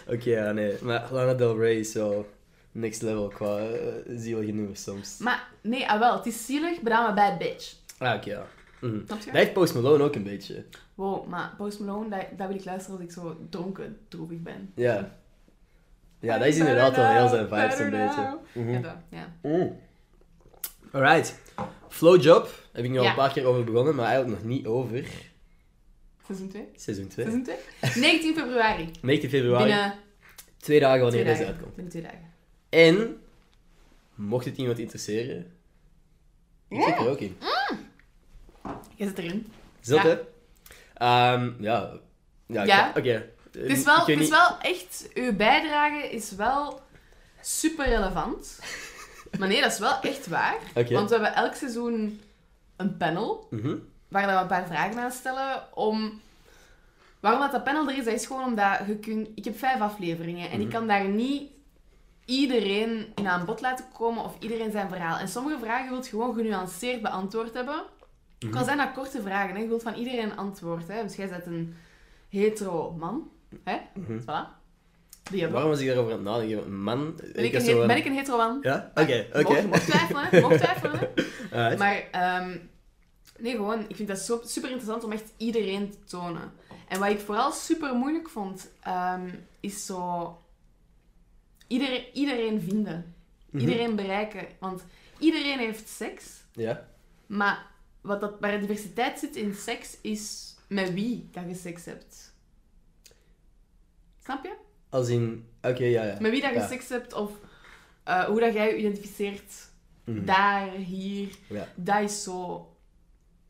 Oké, ja, nee. Maar Lana Del Rey is zo... next level qua eh, zielige nummers soms.
Maar nee, ah wel, het is zielig, maar dan een bad bitch.
Ah, oké, ja. Mhm.
Snap je?
Dat heeft Post Malone ook een beetje.
Wow, maar Post Malone, dat, dat wil ik luisteren als ik zo dronken, droevig ben.
Ja. Ja, dat is inderdaad wel heel zijn vibes een beetje. Mhm.
Ja, dat, ja.
Mm. Alright. Flowjob. Heb ik nu al
Ja.
een paar keer over begonnen, maar eigenlijk nog niet over.
Seizoen 2?
Seizoen 2.
Seizoen 2? 19 februari.
19 februari.
Binnen
Twee dagen wanneer
twee
deze
dagen.
uitkomt.
Binnen twee dagen.
En, mocht het iemand interesseren, ik zit er ook in.
Je zit erin.
Zot,
Ja.
hè? Ehm, ja. Ja,
Ja.
oké. Oké.
Het is wel, het is wel echt, uw bijdrage is wel super relevant. Maar nee, dat is wel echt waar.
Oké.
Want we hebben elk seizoen een panel
Mhm.
waar dat we een paar vragen aan stellen. Om... Waarom dat, dat panel er is, dat is gewoon omdat je kunt... ik heb vijf afleveringen en ik
Mhm.
kan daar niet iedereen in aan bod laten komen of iedereen zijn verhaal. En sommige vragen wil je gewoon genuanceerd beantwoord hebben.
Mhm.
Het kan zijn dat korte vragen, hè. je wilt van iedereen een antwoord. Hè. Dus jij bent een hetero man. Hè?
Mhm.
Voilà. Die hebben we.
Waarom was ik daarover aan het nadenken? Man,
Ben ik,
was
een,
zo
he-
van-
ben ik een hetero man?
Ja? Oké,
Je Mocht, je
oké.
mocht twijfelen, hè. Je mocht twijfelen. hè.
Alright.
Maar ehm, nee, gewoon, ik vind dat zo, super interessant om echt iedereen te tonen. En wat ik vooral super moeilijk vond, ehm, is zo iedereen, iedereen vinden.
Mhm.
Iedereen bereiken. Want iedereen heeft seks,
Ja.
maar wat dat, waar de diversiteit zit in seks is met wie dat je seks hebt. Snap je?
Als in... Oké, ja, ja.
Met wie dat je
Ja.
seks hebt of eh, hoe dat jij je identificeert.
Mhm.
Daar, hier.
Ja.
Dat is zo.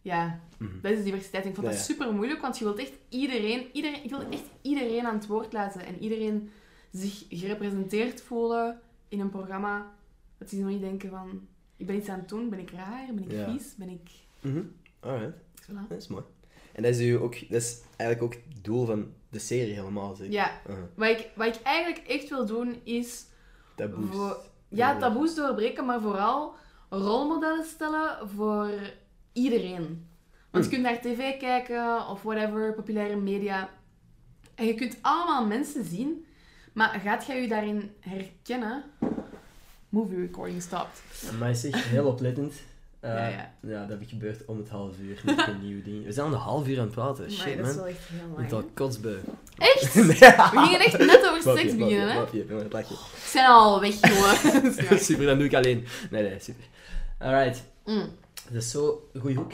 Ja,
Mhm.
dat is diversiteit. En Ik vond
Ja,
dat
ja.
super moeilijk, want je wilt echt iedereen, iedereen, ik wil echt iedereen aan het woord laten en iedereen zich gerepresenteerd voelen in een programma. Dat ze nog niet denken van, ik ben iets aan het doen, ben ik raar, ben ik
Ja.
vies, ben ik...
Mhm. Alright.
Voilà.
Dat is mooi. En dat is, uw ook, dat is eigenlijk ook het doel van de serie helemaal, zeg.
Ja,
Uh-huh.
wat ik, wat ik eigenlijk echt wil doen is
Taboes.
Voor- Ja, taboes doorbreken, maar vooral rolmodellen stellen voor iedereen. Want je kunt naar tv kijken of whatever, populaire media. En je kunt allemaal mensen zien, maar gaat jij je daarin herkennen? Movie recording stopped.
Maar is echt heel oplettend. Eh,
Ja, ja.
dat heb ik gebeurd om het half uur. Niet een nieuw ding. We zijn al een half uur aan het praten.
maar
Shit,
dat is
man.
wel echt heel
Ik
lang.
ben al
hè?
kotsbeu.
Echt? We gingen echt net over seks beginnen, hè?
Blapje, blapje, blapje.
Ik zijn al weg, jongen. Dat is waar.
Super, dan doe ik alleen. Nee, nee, super. Alright.
Mm.
Dat is zo... Goeie hoek.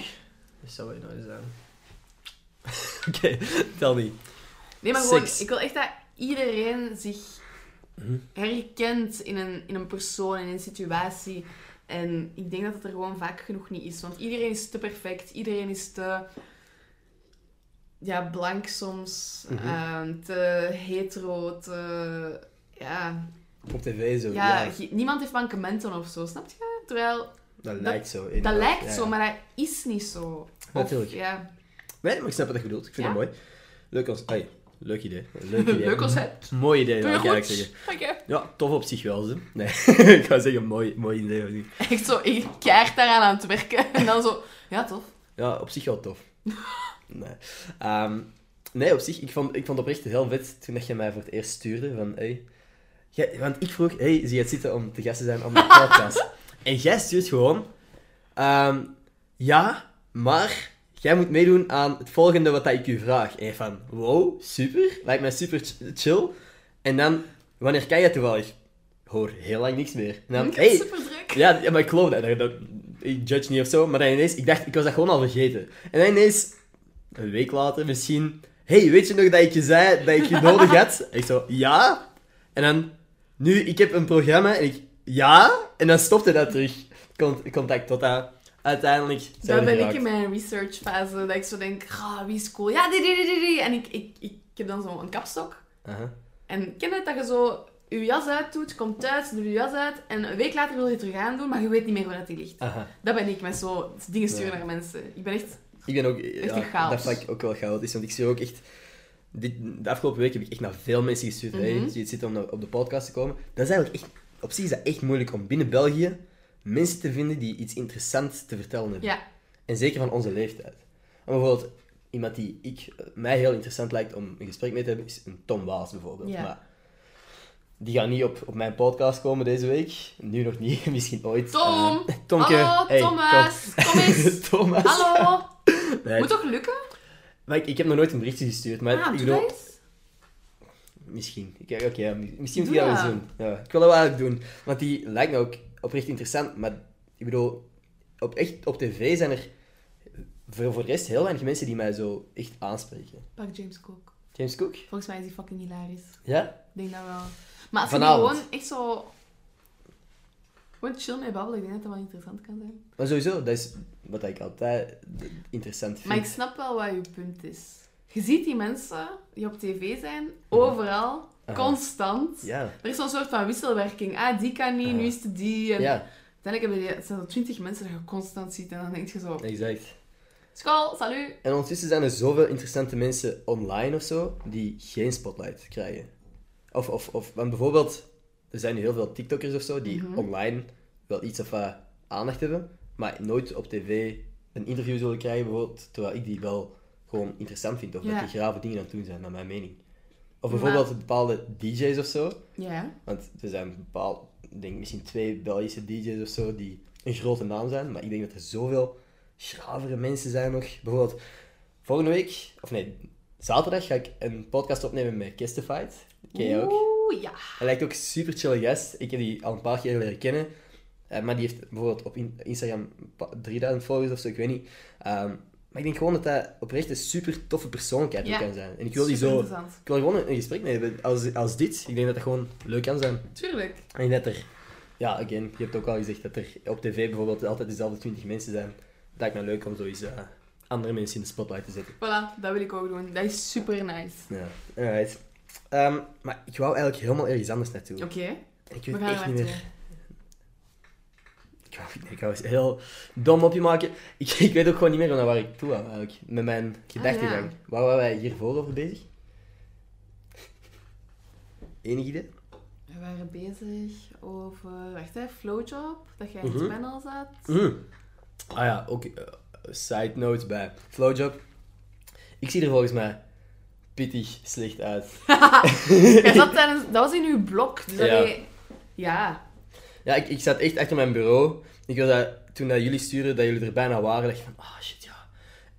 Dat zou je nou zijn. Oké, tel niet.
Nee, maar gewoon,
Seks. Mhm.
ik wil echt dat iedereen zich herkent in een, in een persoon, in een situatie. En ik denk dat het er gewoon vaak genoeg niet is. Want iedereen is te perfect, iedereen is te ja, blank soms,
Mhm.
eh, te hetero, te... Ja,
Op tv zo.
ja,
Ja,
ge- niemand heeft mankementen of zo, snap je? Terwijl, dat,
dat, lijkt zo. inderdaad.
lijkt
Ja,
zo,
ja.
maar dat is niet zo. Of,
Natuurlijk.
Ja.
Nee, maar ik snap wat je bedoelt. Ik vind
Ja?
het mooi. Leuk als... Ai, leuk idee. Leuk idee.
Leuk concept.
Mooi idee,
Doe
zou
je
ik eigenlijk
goed?
zeggen.
Dank je.
Ja, tof op zich wel, ze. Nee, ik ga zeggen mooi, mooi idee of niet.
Echt zo, ik keihard daaraan aan het werken. En dan zo, ja, tof.
Ja, op zich wel tof. nee. Ehm, nee, op zich, ik vond, ik vond oprecht heel vet toen dat je mij voor het eerst stuurde. Van, hey, jij- want ik vroeg, hey, zie je het zitten om te gast te zijn op de podcast? en jij stuurt gewoon, ehm, ja, maar jij moet meedoen aan het volgende wat dat ik u vraag. En van, wow, super, lijkt mij super ch- chill. En dan, wanneer kan je toevallig? Ik Hoor heel lang niks meer. En dan,
Ik heb
hey,
super druk.
ja, ja, maar ik geloof dat. dat, dat- ik judge niet of zo, maar dan ineens, ik dacht, ik was dat gewoon al vergeten. En dan ineens, een week later misschien, hey, weet je nog dat ik je zei dat ik je nodig had? Ik zo, ja. En dan, nu, ik heb een programma en ik, ja. En dan stopte dat terug, Con- contact, tot dat uiteindelijk zijn
Daar
we
ben ik
geraakt.
in mijn research fase. Dat ik zo denk, ah, wie is cool? Ja, die, die, die, die, die. En ik, ik, ik, ik heb dan zo'n kapstok.
Aha.
En ken je het dat je zo je jas uitdoet, komt thuis, doet je jas uit. En een week later wil je het terug aandoen, maar je weet niet meer waar dat die ligt.
Aha.
Dat ben ik met zo dingen sturen
Ja.
naar mensen. Ik ben echt...
Ik ben ook...
een
ja,
chaos.
dat vak ook wel chaotisch, want ik zie ook echt... Dit, de afgelopen week heb ik echt naar veel mensen gestuurd. hey,
Mhm.
zie je het zitten om naar- op de podcast te komen. Dat is eigenlijk echt... Op zich is dat echt moeilijk om binnen België mensen te vinden die iets interessants te vertellen hebben.
Ja,
En zeker van onze leeftijd. Maar bijvoorbeeld, iemand die ik, mij heel interessant lijkt om een gesprek mee te hebben, is een Tom Waas bijvoorbeeld.
Ja.
Maar Die gaan niet op, op mijn podcast komen deze week. Nu nog niet, misschien ooit.
Tom!
Eh, Tomke!
Hallo,
Hey,
Thomas! Kom eens!
Kom. Thomas!
Hallo!
Nee,
Moet toch lukken?
maar ik, ik heb nog nooit een berichtje gestuurd, maar
Ah,
ik
doe
bedoel-
dat eens.
Misschien. Ik- eh, Oké, ja, mi- misschien moet
Doe
ik dat
dat.
wel eens doen. Ja, ik wil dat wel eigenlijk doen. Want die lijkt me ook oprecht interessant. Maar ik bedoel, op, echt, op tv zijn er voor, voor de rest heel weinig mensen die mij zo echt aanspreken.
Pak James Cook.
James Cook?
Volgens mij is die fucking hilarisch.
Ja?
Ik denk dat wel. Maar als je
Vanavond.
gewoon echt zo... Gewoon chill mee babbelen, ik denk dat dat wel interessant kan zijn.
Maar sowieso, dat is wat ik altijd d- interessant
Maar ik
vind.
snap wel wat je punt is. Je ziet die mensen die op tv zijn, overal,
Aha.
constant.
Uh-huh. Ja.
Er is zo'n soort van wisselwerking. Ah, die kan niet,
Aha.
nu is het die. En
Ja,
Uiteindelijk heb je, het zijn er twintig mensen die je constant ziet en dan denk je zo...
exact.
School, salut!
En ondertussen zijn er zoveel interessante mensen online of zo die geen spotlight krijgen. Of, of, of want bijvoorbeeld, er zijn nu heel veel TikTokkers of zo die online wel iets of wat aandacht hebben, maar nooit op tv een interview zullen krijgen, bijvoorbeeld, terwijl ik die wel gewoon interessant vind. Of
Ja.
dat die grave dingen aan het doen zijn, naar mijn mening. Of bijvoorbeeld bepaalde DJ's of zo.
Ja.
Want er zijn bepaald, ik denk misschien twee Belgische DJ's of zo die een grote naam zijn, maar ik denk dat er zoveel schravere mensen zijn nog. Bijvoorbeeld, volgende week, of nee, zaterdag ga ik een podcast opnemen met Kistified. Ken je ook?
Oeh, ja.
Hij lijkt ook super chill gast. Ik heb die al een paar keer leren kennen. Eh, maar die heeft bijvoorbeeld op in- Instagram een pa- 3000 followers of zo, ik weet niet. Ehm, maar ik denk gewoon dat dat oprecht een super toffe persoonlijkheid ook
Ja.
kan zijn. En ik wil die zo.
Superinteressant.
Ik wil er gewoon een een gesprek mee hebben als, als dit. Ik denk dat dat gewoon leuk kan zijn.
Tuurlijk.
En ik denk dat er, ja, again, je hebt ook al gezegd dat er op tv bijvoorbeeld altijd dezelfde 20 mensen zijn. Het lijkt me leuk om zoiets eh, andere mensen in de spotlight te zetten.
Voilà, dat wil ik ook doen. Dat is super nice.
Ja, alright. Ehm, maar ik wou eigenlijk helemaal ergens anders naartoe.
Oké,
Ik
we
weet
gaan
echt
er
niet meer.
naartoe.
Ik wou, nee, ik wou eens een heel dom op je maken. Ik, ik weet ook gewoon niet meer naar waar ik toe wou eigenlijk. Met mijn gedachtegang.
Ah, ja.
Waar waren wij hiervoor over bezig? Enig idee?
We waren bezig over, wacht hè, Flowjob, dat jij in
Mhm.
het panel zat.
Mm. Ah ja, ook eh, side note bij Flowjob. Ik zie er volgens mij pittig slecht uit.
Jij zat tijdens, dat was in uw blok, dus
Ja.
ja. ja.
Ja, ik, ik zat echt achter mijn bureau. Ik was dat, toen dat jullie sturen dat jullie er bijna waren, dacht ik van, ah shit, ja.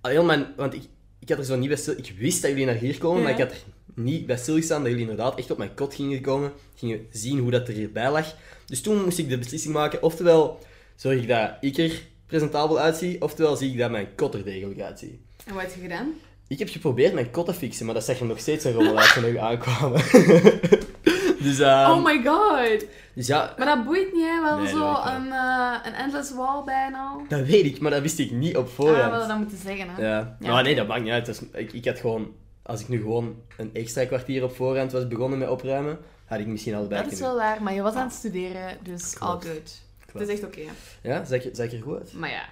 Al heel mijn, want ik, ik had er zo niet bij stil... Ik wist dat jullie naar hier komen,
Ja.
maar ik had er niet bij stilgestaan dat jullie inderdaad echt op mijn kot gingen komen. Gingen zien hoe dat er hierbij lag. Dus toen moest ik de beslissing maken, oftewel zorg ik dat ik er presentabel uitzie, oftewel zie ik dat mijn kot er degelijk uitziet.
En wat heb je gedaan?
Ik heb geprobeerd mijn kot te fixen, maar dat zag er nog steeds een rommel uit toen we aankwamen. dus, ehm,
oh my god!
dus ja,
Maar dat boeit niet, hè? We hadden
Nee, dat
zo
weet ik
een, eh, een endless wall bijna. Ah,
dat weet ik, maar dat wist ik niet op
we
voorhand.
hadden Ah, dat moeten zeggen, hè?
Ja.
Ja.
Maar nee, dat maakt niet uit. Dat is- ik, ik had gewoon, als ik nu gewoon een extra kwartier op voorhand was begonnen met opruimen, had ik misschien al bij
dat is
kunnen.
wel waar, maar je was aan het studeren, dus
Ah. Klopt.
all good. Het is echt oké. hè.
Ja, zag ik, zag ik er goed uit?
maar ja,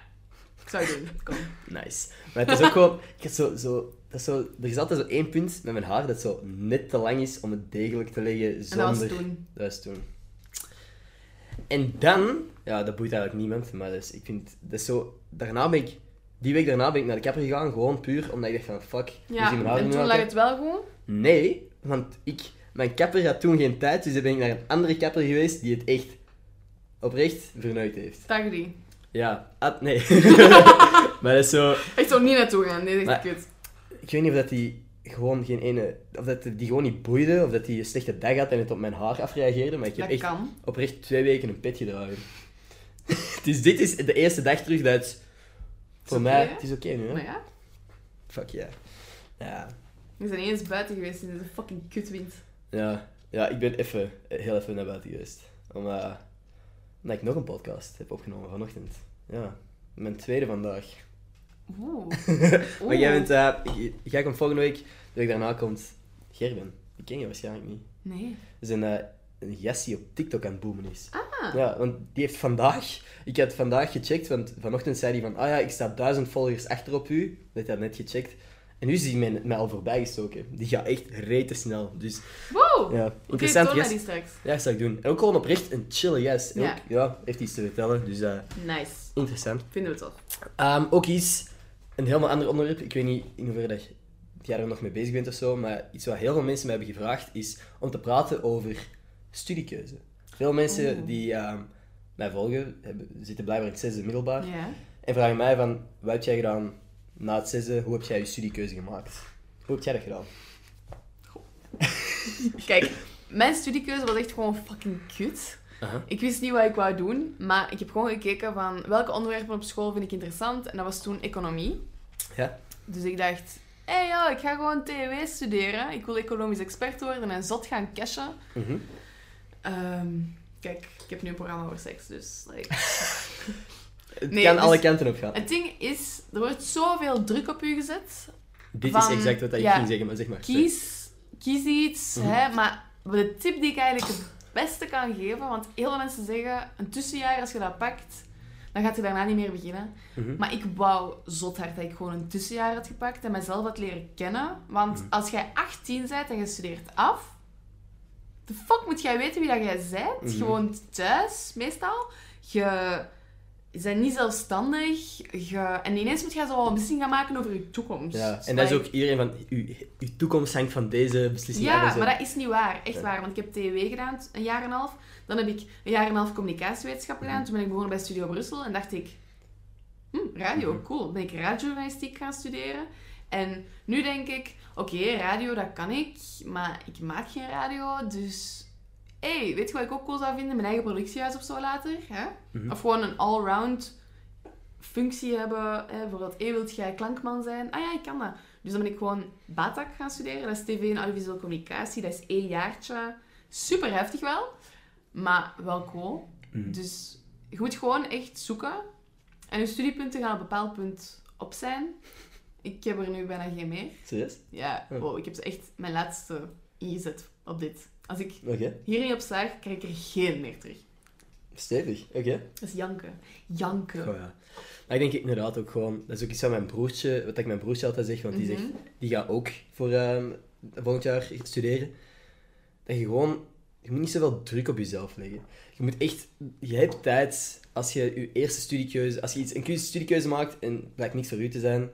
ik zou het doen. Kom.
Nice. Maar het is ook gewoon, ik had zo, zo, dat is zo, er is altijd zo één punt met mijn haar dat zo net te lang is om het degelijk te leggen
En dat was
zonder...
toen.
Dat is toen. En dan, ja, dat boeit eigenlijk niemand, maar dus, ik vind, dat is zo, daarna ben ik, die week daarna ben ik naar de kapper gegaan, gewoon puur omdat ik dacht van, fuck, we
Ja,
zien mijn haar
en
niet
toen
meer
lag
uit.
het wel goed.
Nee, want ik, mijn kapper had toen geen tijd, dus dan ben ik naar een andere kapper geweest die het echt, oprecht, verneukt heeft.
Dag die.
Ja, ah, nee. maar dat is zo,
Ik zou niet naartoe gaan, nee,
Maar-
dat is echt kut.
ik weet niet of dat die gewoon geen ene, of dat die gewoon niet boeide, of dat die een slechte dag had en het op mijn haar afreageerde, maar ik heb
Dat
echt
kan.
oprecht twee weken een pit gedragen. dus dit is de eerste dag terug dat het voor
oké,
mij...
hè?
Het is oké nu, hè?
Maar ja,
Fuck ja. Ja.
we zijn eens buiten geweest in deze fucking kutwind.
Ja. Ja, ik ben even, eh, heel even naar buiten geweest. Om, eh, omdat ik nog een podcast heb opgenomen vanochtend. Ja. Mijn tweede vandaag.
Oeh.
Maar jij bent... eh, j- jij komt volgende week, de week daarna komt Gerben. Die ken je waarschijnlijk niet.
Nee.
Dat is een, eh, een gast die op TikTok aan het boomen is.
Ah.
Ja, want die heeft vandaag... Ik had vandaag gecheckt, want vanochtend zei hij van... Ah ja, ik sta duizend volgers achter op u. Dat had net gecheckt. En nu is hij mij, mij al voorbij gestoken. Die gaat echt rete snel. Dus
Wow!
ja,
Oké,
interessant
toon mij
gast.
die straks.
Ja, dat zou ik doen. En ook gewoon oprecht een chille gast. En
Ja.
ook, ja, heeft iets te vertellen. Dus eh,
Nice.
interessant.
Vinden we toch?
Ehm, ook iets... Een helemaal ander onderwerp. Ik weet niet in hoeverre dat jij er nog mee bezig bent of zo. Maar iets wat heel veel mensen mij hebben gevraagd is om te praten over studiekeuze. Veel mensen
Oeh.
die ehm, mij volgen, hebben, zitten blijkbaar in het zesde middelbaar.
Ja.
En vragen mij van, wat heb jij gedaan na het zesde? Hoe heb jij je studiekeuze gemaakt? Hoe heb jij dat gedaan?
Kijk, mijn studiekeuze was echt gewoon fucking kut.
Aha.
Ik wist niet wat ik wou doen, maar ik heb gewoon gekeken van welke onderwerpen op school vind ik interessant. En dat was toen economie.
Ja?
Dus ik dacht, hé hey, ja, ik ga gewoon TW studeren. Ik wil economisch expert worden en zot gaan cashen.
Mhm.
Ehm, kijk, ik heb nu een programma over seks, dus... Like.
Het
Nee,
kan
dus-
alle kanten op gaan.
Het ding is, er wordt zoveel druk op u gezet.
Dit is
van-
exact wat ik
ja.
ging zeggen, maar zeg maar.
kies, kies iets.
Mhm.
Hè, maar de tip die ik eigenlijk het beste kan geven, want heel veel mensen zeggen, een tussenjaar als je dat pakt, dan gaat je daarna niet meer beginnen.
Mhm.
Maar ik wou zot hard dat ik gewoon een tussenjaar had gepakt en mezelf had leren kennen. Want
Mhm.
als jij 18 bent en je studeert af, de fuck moet jij weten wie dat jij bent?
Mhm.
Je woont thuis, meestal. Je bent niet zelfstandig. Je... En ineens moet jij zo wel een beslissing gaan maken over je toekomst.
Ja, en dat is
Like-
ook iedereen van, uw, uw toekomst hangt van deze beslissing af en
ja,
zo.
maar dat is niet waar. Echt
Ja.
waar. Want ik heb TW gedaan, t- een jaar en een half. Dan heb ik een jaar en een half communicatiewetenschap gedaan. Toen ben ik begonnen bij Studio Brussel. En dacht ik, hm, radio, cool. Ben ik radiojournalistiek gaan studeren. En nu denk ik, oké, radio, dat kan ik. Maar ik maak geen radio, dus... Hé, hey, weet je wat ik ook cool zou vinden? Mijn eigen productiehuis of zo later. Hè?
Mhm.
Of gewoon een allround functie hebben. Hè? Bijvoorbeeld, hé, wilt jij klankman zijn? Ah ja, ik kan dat. Dus dan ben ik gewoon BATAC gaan studeren. Dat is tv en audiovisuele communicatie. Dat is één jaartje. Super heftig wel, maar wel cool.
Mhm.
Dus je moet gewoon echt zoeken. En je studiepunten gaan op een bepaald punt op zijn. Ik heb er nu bijna geen meer.
Serieus?
Ja,
Ja.
wow, ik heb ze echt mijn laatste ingezet op dit. Als ik
Oké,
hier niet op slaag, krijg ik er geen meer terug.
stevig. Oké.
Dat is janken. Janken.
Goh, ja. Maar ik denk inderdaad ook gewoon, dat is ook iets van mijn broertje, wat ik mijn broertje altijd zeg, want die,
Mhm.
zegt, die gaat ook voor ehm, volgend jaar studeren. Dat je gewoon, je moet niet zoveel druk op jezelf leggen. Je moet echt, je hebt tijd als je je eerste studiekeuze, als je iets, een keuze- studiekeuze maakt en het blijkt niks voor u te zijn,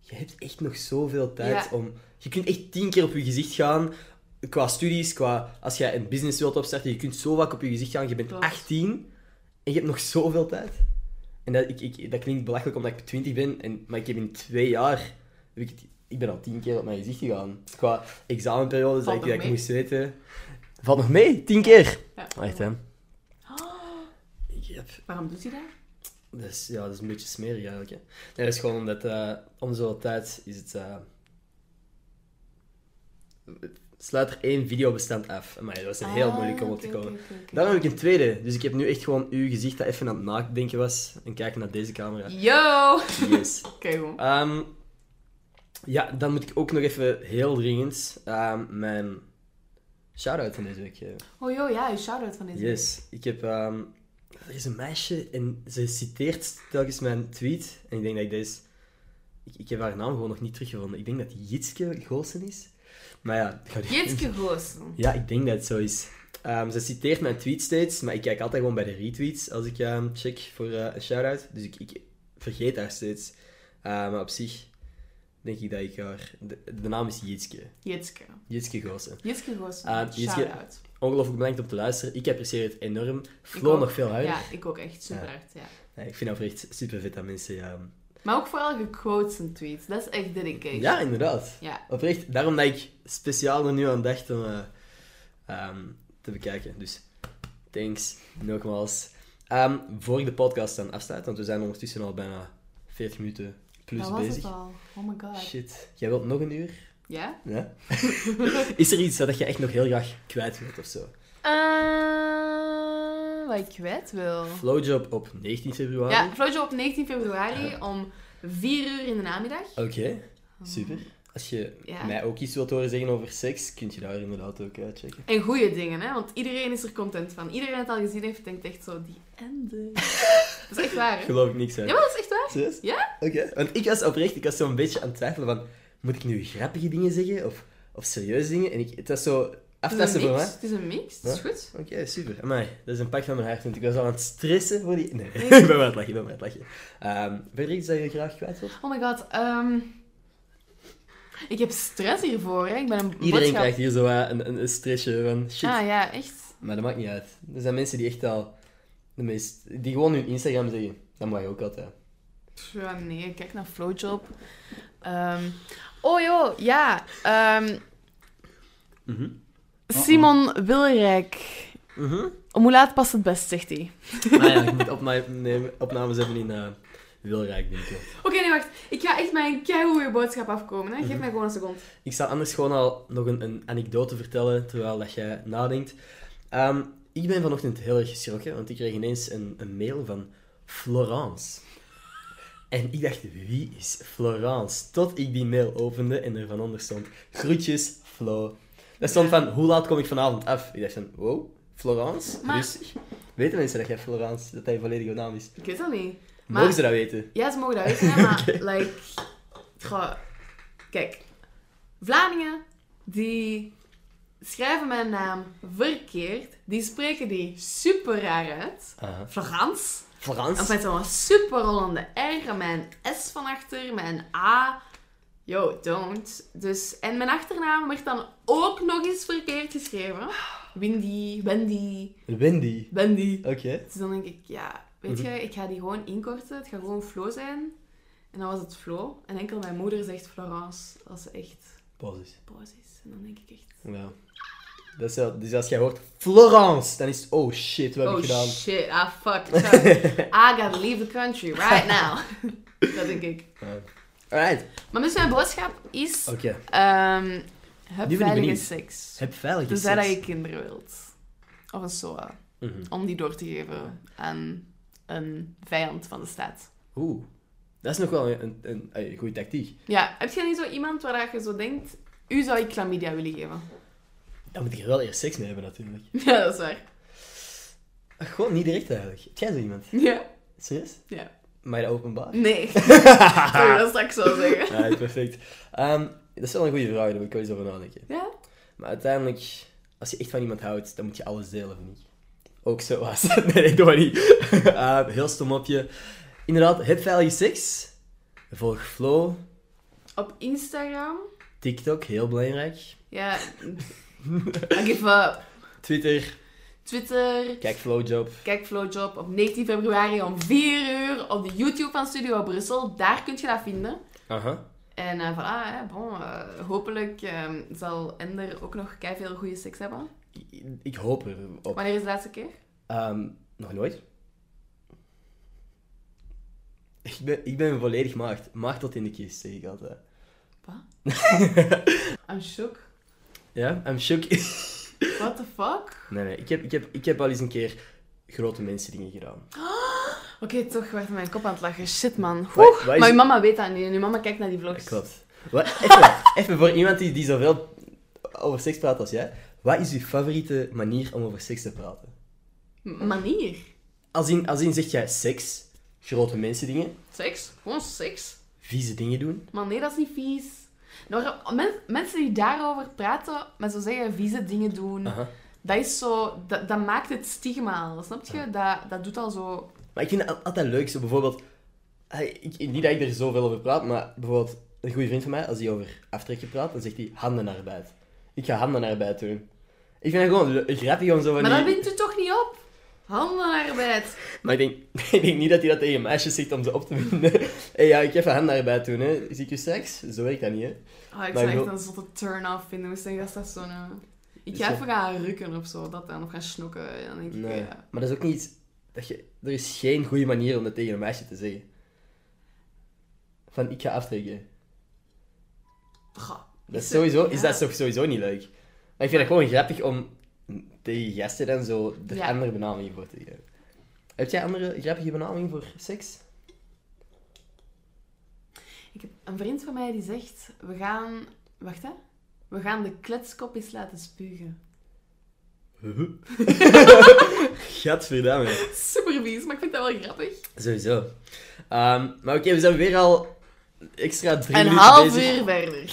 je hebt echt nog zoveel tijd
Ja.
om, je kunt echt tien keer op je gezicht gaan. Qua studies, qua, als jij een business wilt opstarten, je kunt zo vaak op je gezicht gaan. Je bent
Klopt.
18 en je hebt nog zoveel tijd. En dat, ik, ik, dat klinkt belachelijk omdat ik 20 ben, en, maar ik heb in twee jaar. Heb ik, het- ik ben al tien keer op mijn gezicht gegaan. Qua examenperiodes dat
Valt
ik,
nog
dat ik
mee?
moest weten. Valt nog mee? Tien keer!
Ja.
Echt hè?
Oh,
Ik heb
waarom doet hij dat?
dus ja, dat is een beetje smerig eigenlijk. Hè. Nee, dat is gewoon omdat eh, om zoveel tijd is het. eh, het sluit er één videobestand af. Maar dat was een heel
Ah,
moeilijk om op
oké,
te komen.
oké, oké, oké.
Daarom heb ik een tweede. Dus ik heb nu echt gewoon uw gezicht dat even aan het nadenken was. En kijken naar deze camera.
Yo!
Yes.
Oké, gewoon.
Ehm, ja, dan moet ik ook nog even heel dringend ehm, mijn shout-out van deze week geven.
Oh yo, ja, je shout-out van deze week.
Yes, ik heb. ehm, er is een meisje en ze citeert telkens mijn tweet. En ik denk dat ik deze. Ik, ik heb haar naam gewoon nog niet teruggevonden. Ik denk dat die Jitske Goossen is. Maar ja, ik ga die-
Jitske Goossen.
Ja, ik denk dat het zo is. Ehm, ze citeert mijn tweet steeds, maar ik kijk altijd gewoon bij de retweets als ik ehm, check voor eh, een shout-out. Dus ik, ik vergeet haar steeds. Eh, maar op zich denk ik dat ik haar. De, de naam is Jitske.
Jitske.
Jitske Goossen.
Jitske Goossen.
Ah, Jitske-
Shout-out.
Ongelooflijk bedankt om te luisteren. Ik apprecieer het enorm. Flo
ook.
nog veel harder.
Ja, ik ook echt super
Ja.
hard, ja.
Ja, ik vind dat echt super vet dat mensen. ehm,
Maar ook vooral je quotes en tweets. Dat is echt dedication.
Ja, inderdaad.
Ja.
Oprecht. Daarom dat ik speciaal er nu aan dacht om eh, ehm, te bekijken. Dus thanks, nogmaals. Ehm, voor ik de podcast dan afsluit, want we zijn ondertussen al bijna 40 minuten plus
dat was
bezig.
het al. Oh my god.
Shit. Jij wilt nog een uur?
Ja?
Ja? Is er iets dat je echt nog heel graag kwijt wilt of zo?
Eh, wat ik kwijt wil.
Flowjob op 19 februari.
Ja, Flowjob op 19 februari om 4 uur in de namiddag.
Oké, super. Als je
Ja.
mij ook iets wilt horen zeggen over seks, kun je daar inderdaad ook uitchecken. checken.
En goede dingen, hè? want iedereen is er content van. Iedereen die het al gezien heeft, denkt echt zo, die ende. dat is echt waar, hè? Ja,
Geloof ik niks uit.
maar dat is echt waar.
Serieus?
Ja?
Oké. Want ik was oprecht, ik was zo'n beetje aan het twijfelen van... Moet ik nu grappige dingen zeggen? Of, of serieuze dingen? En ik, het was zo
Het is
aftasten
een
voor
mix.
mij.
Het is een mix, dat is
Ja.
goed.
Oké, super. Amai, dat is een pak van mijn hart. Want ik was al aan het stressen voor die... Nee, ik ben maar aan het lachen, ik ben maar aan het lachen. Ehm verder iets dat je graag kwijt wilt?
Oh my god, ehm, Ik heb stress hiervoor, hè. Ik ben een
Iedereen
boodschap-
krijgt hier zo wat een, een, een stressje van shit.
Ah ja, echt.
Maar dat maakt niet uit. Er zijn mensen die echt al de meest... Die gewoon hun Instagram zeggen. Dat mag je ook altijd.
Pff, ja, nee, kijk naar Flowjob. Ehm, oh joh, ja. ehm,
Mhm.
Simon Wilrijk. Om hoe laat past het best, zegt hij.
Maar Ah ja, ik moet opna- nemen- opnames hebben in eh, Wilrijk, denk ik.
Oké, nee, wacht. Ik ga echt mijn keigoede boodschap afkomen. Hè. Geef
Mhm.
mij gewoon een seconde.
Ik zou anders gewoon al nog een, een anekdote vertellen, terwijl dat jij nadenkt. Ehm, ik ben vanochtend heel erg geschrokken, want ik kreeg ineens een, een mail van Florence. En ik dacht, wie is Florence? Tot ik die mail opende en er van onder stond, groetjes, Flo. Dat stond van, hoe laat kom ik vanavond af? Ik dacht van, wow, Florence?
Maar-
Rustig. Weten mensen dat jij Florence, dat hij je volledige naam is?
Ik weet dat niet. Maar-
Mogen ze dat weten?
Ja, ze mogen dat weten, hè, maar like... goh, Kijk. Vlamingen, die schrijven mijn naam verkeerd. Die spreken die super raar uit.
Aha.
Frans.
Florence?
Of met zo'n super rollende R. en Mijn S van achter, mijn A. Yo, don't. Dus, en mijn achternaam werd dan ook nog eens verkeerd geschreven. Windy, Wendy,
Wendy.
Wendy.
Oké.
Dus dan denk ik, ja, weet
Mhm.
je, ik ga die gewoon inkorten. Het gaat gewoon Flo zijn. En dan was het Flo. En enkel mijn moeder zegt Florence als ze echt
Pauze.
boos is. En dan denk ik echt,
Ja. Dat is wel- dus als jij hoort Florence, dan is het oh shit, wat heb
oh
ik gedaan?
shit, ah fuck. I gotta leave the country right now. Dat denk ik.
Ja. Alright,
Maar dus mijn boodschap is,
oké.
ehm heb
Nu ben ik
veilige
benieuwd.
seks.
Heb veilig
Tenzij dat
seks.
je kinderen wilt. Of een SOA.
Mhm.
Om die door te geven aan een vijand van de staat.
Oeh, dat is nog wel een, een, een, een goede tactiek.
Ja, heb je niet zo iemand waar je zo denkt, u zou ik chlamydia willen geven?
Dan moet ik er wel eerst seks mee hebben natuurlijk.
Ja, dat is waar.
Ach, Gewoon niet direct eigenlijk. Heb jij zo iemand?
Ja.
Serieus?
Ja.
Maar dat openbaar?
Nee. Sorry, dat zou ik zo zeggen.
Ja, perfect. Ehm, dat is wel een goede vraag, daar moet ik wel eens over nadenken.
Ja?
Maar uiteindelijk, als je echt van iemand houdt, dan moet je alles delen, vind ik. Ook zo was. Nee, ik doe maar niet. Eh, heel stom mopje. Inderdaad, heb veilige seks. Volg Flow.
Op Instagram.
TikTok, heel belangrijk.
Ja. Ik even
Twitter,
Twitter.
kijk Flowjob.
Kijk Flowjob op 19 februari om 4 uur op de YouTube van Studio Brussel. Daar kun je dat vinden.
Aha.
En eh voilà, hè, bon, eh, hopelijk eh, zal Ender ook nog veel goede seks hebben.
Ik, ik hoop erop.
Wanneer is de laatste keer?
Ehm, nog nooit. Ik ben, ik ben volledig maagd. Maagd tot in de kist, zeg ik altijd.
I'm shook.
Ja, I'm shook.
What the fuck?
Nee, nee, ik heb, ik, heb, ik heb al eens een keer grote mensen dingen gedaan.
Oké, toch, ik werd mijn kop aan het lachen. Shit, man. Oeh,
Wat- wat is-
Maar je mama weet dat niet. En je mama kijkt naar die vlogs.
Klopt. Wat, even, even voor iemand die, die zoveel over seks praat als jij. Wat is je favoriete manier om over seks te praten?
M- Manier.
Als in, als in zeg jij seks, grote mensen dingen,
Seks. Gewoon seks.
vieze dingen doen.
Maar nee, dat is niet vies. Nou, Er waren men- mensen die daarover praten, maar zo zeggen vieze dingen doen,
Aha.
dat is zo... Dat, dat maakt het stigma, snap je? Dat, dat doet al zo...
Ah. Maar ik vind het al- altijd leuk, zo bijvoorbeeld... eh, Ik, niet dat ik er zoveel over praat, maar bijvoorbeeld een goede vriend van mij, als hij over aftrekken praat, dan zegt hij handenarbeid. Ik ga handenarbeid doen. Ik vind het gewoon le- grappig om zo van
Maar dat
die-
wint u toch niet op? Handenarbeid.
Maar ik denk, ik denk niet dat hij dat tegen meisjes zegt om ze op te winden. Hé, ja, ik heb een handenarbeid doen, hè. Zie ik je seks? Zo werkt dat niet, hè.
Oh, ik
Maar
zou
ik
echt
wil-
een zotte turn-off vinden. Dus ik denk dat dat zo'n... eh, Ik
Dus
ga
ja.
even gaan rukken of zo, dat dan. Of gaan snokken. En dan denk ik, eh,
Nee.
ja.
Maar dat is ook niet... Dat je, er is geen goede manier om dat tegen een meisje te zeggen. Van, ik ga aftrekken.
Goh,
Dat is
het-
sowieso... Is
ja.
dat toch sowieso niet leuk? Maar ik vind het gewoon grappig om tegen gasten dan zo er
Ja.
andere benamingen voor te geven. Heb jij andere grappige benamingen voor seks?
Ik heb een vriend van mij die zegt, we gaan... Wacht, hè. We gaan de kletskop eens laten spugen.
Gadverdamme.
Super vies, maar ik vind dat wel grappig.
Sowieso. Ehm, maar oké, we zijn weer al extra drie
Een
minuten
half
bezig.
uur verder.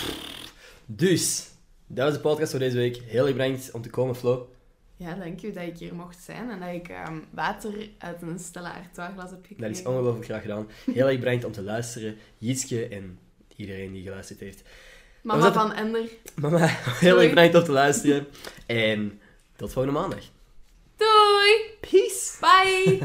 Dus, dat was de podcast voor deze week. Heel erg bedankt om te komen, Flo.
Ja, dank u dat ik hier mocht zijn en dat ik ehm, water uit een Stella Artois-glas heb gekregen.
Dat is ongelooflijk graag gedaan. Heel erg bedankt om te luisteren, Jitske en iedereen die geluisterd heeft.
Mama
Was dat-
van Ender.
Mama, heel erg bedankt om te luisteren. En tot volgende maandag.
Doei!
Peace!
Bye!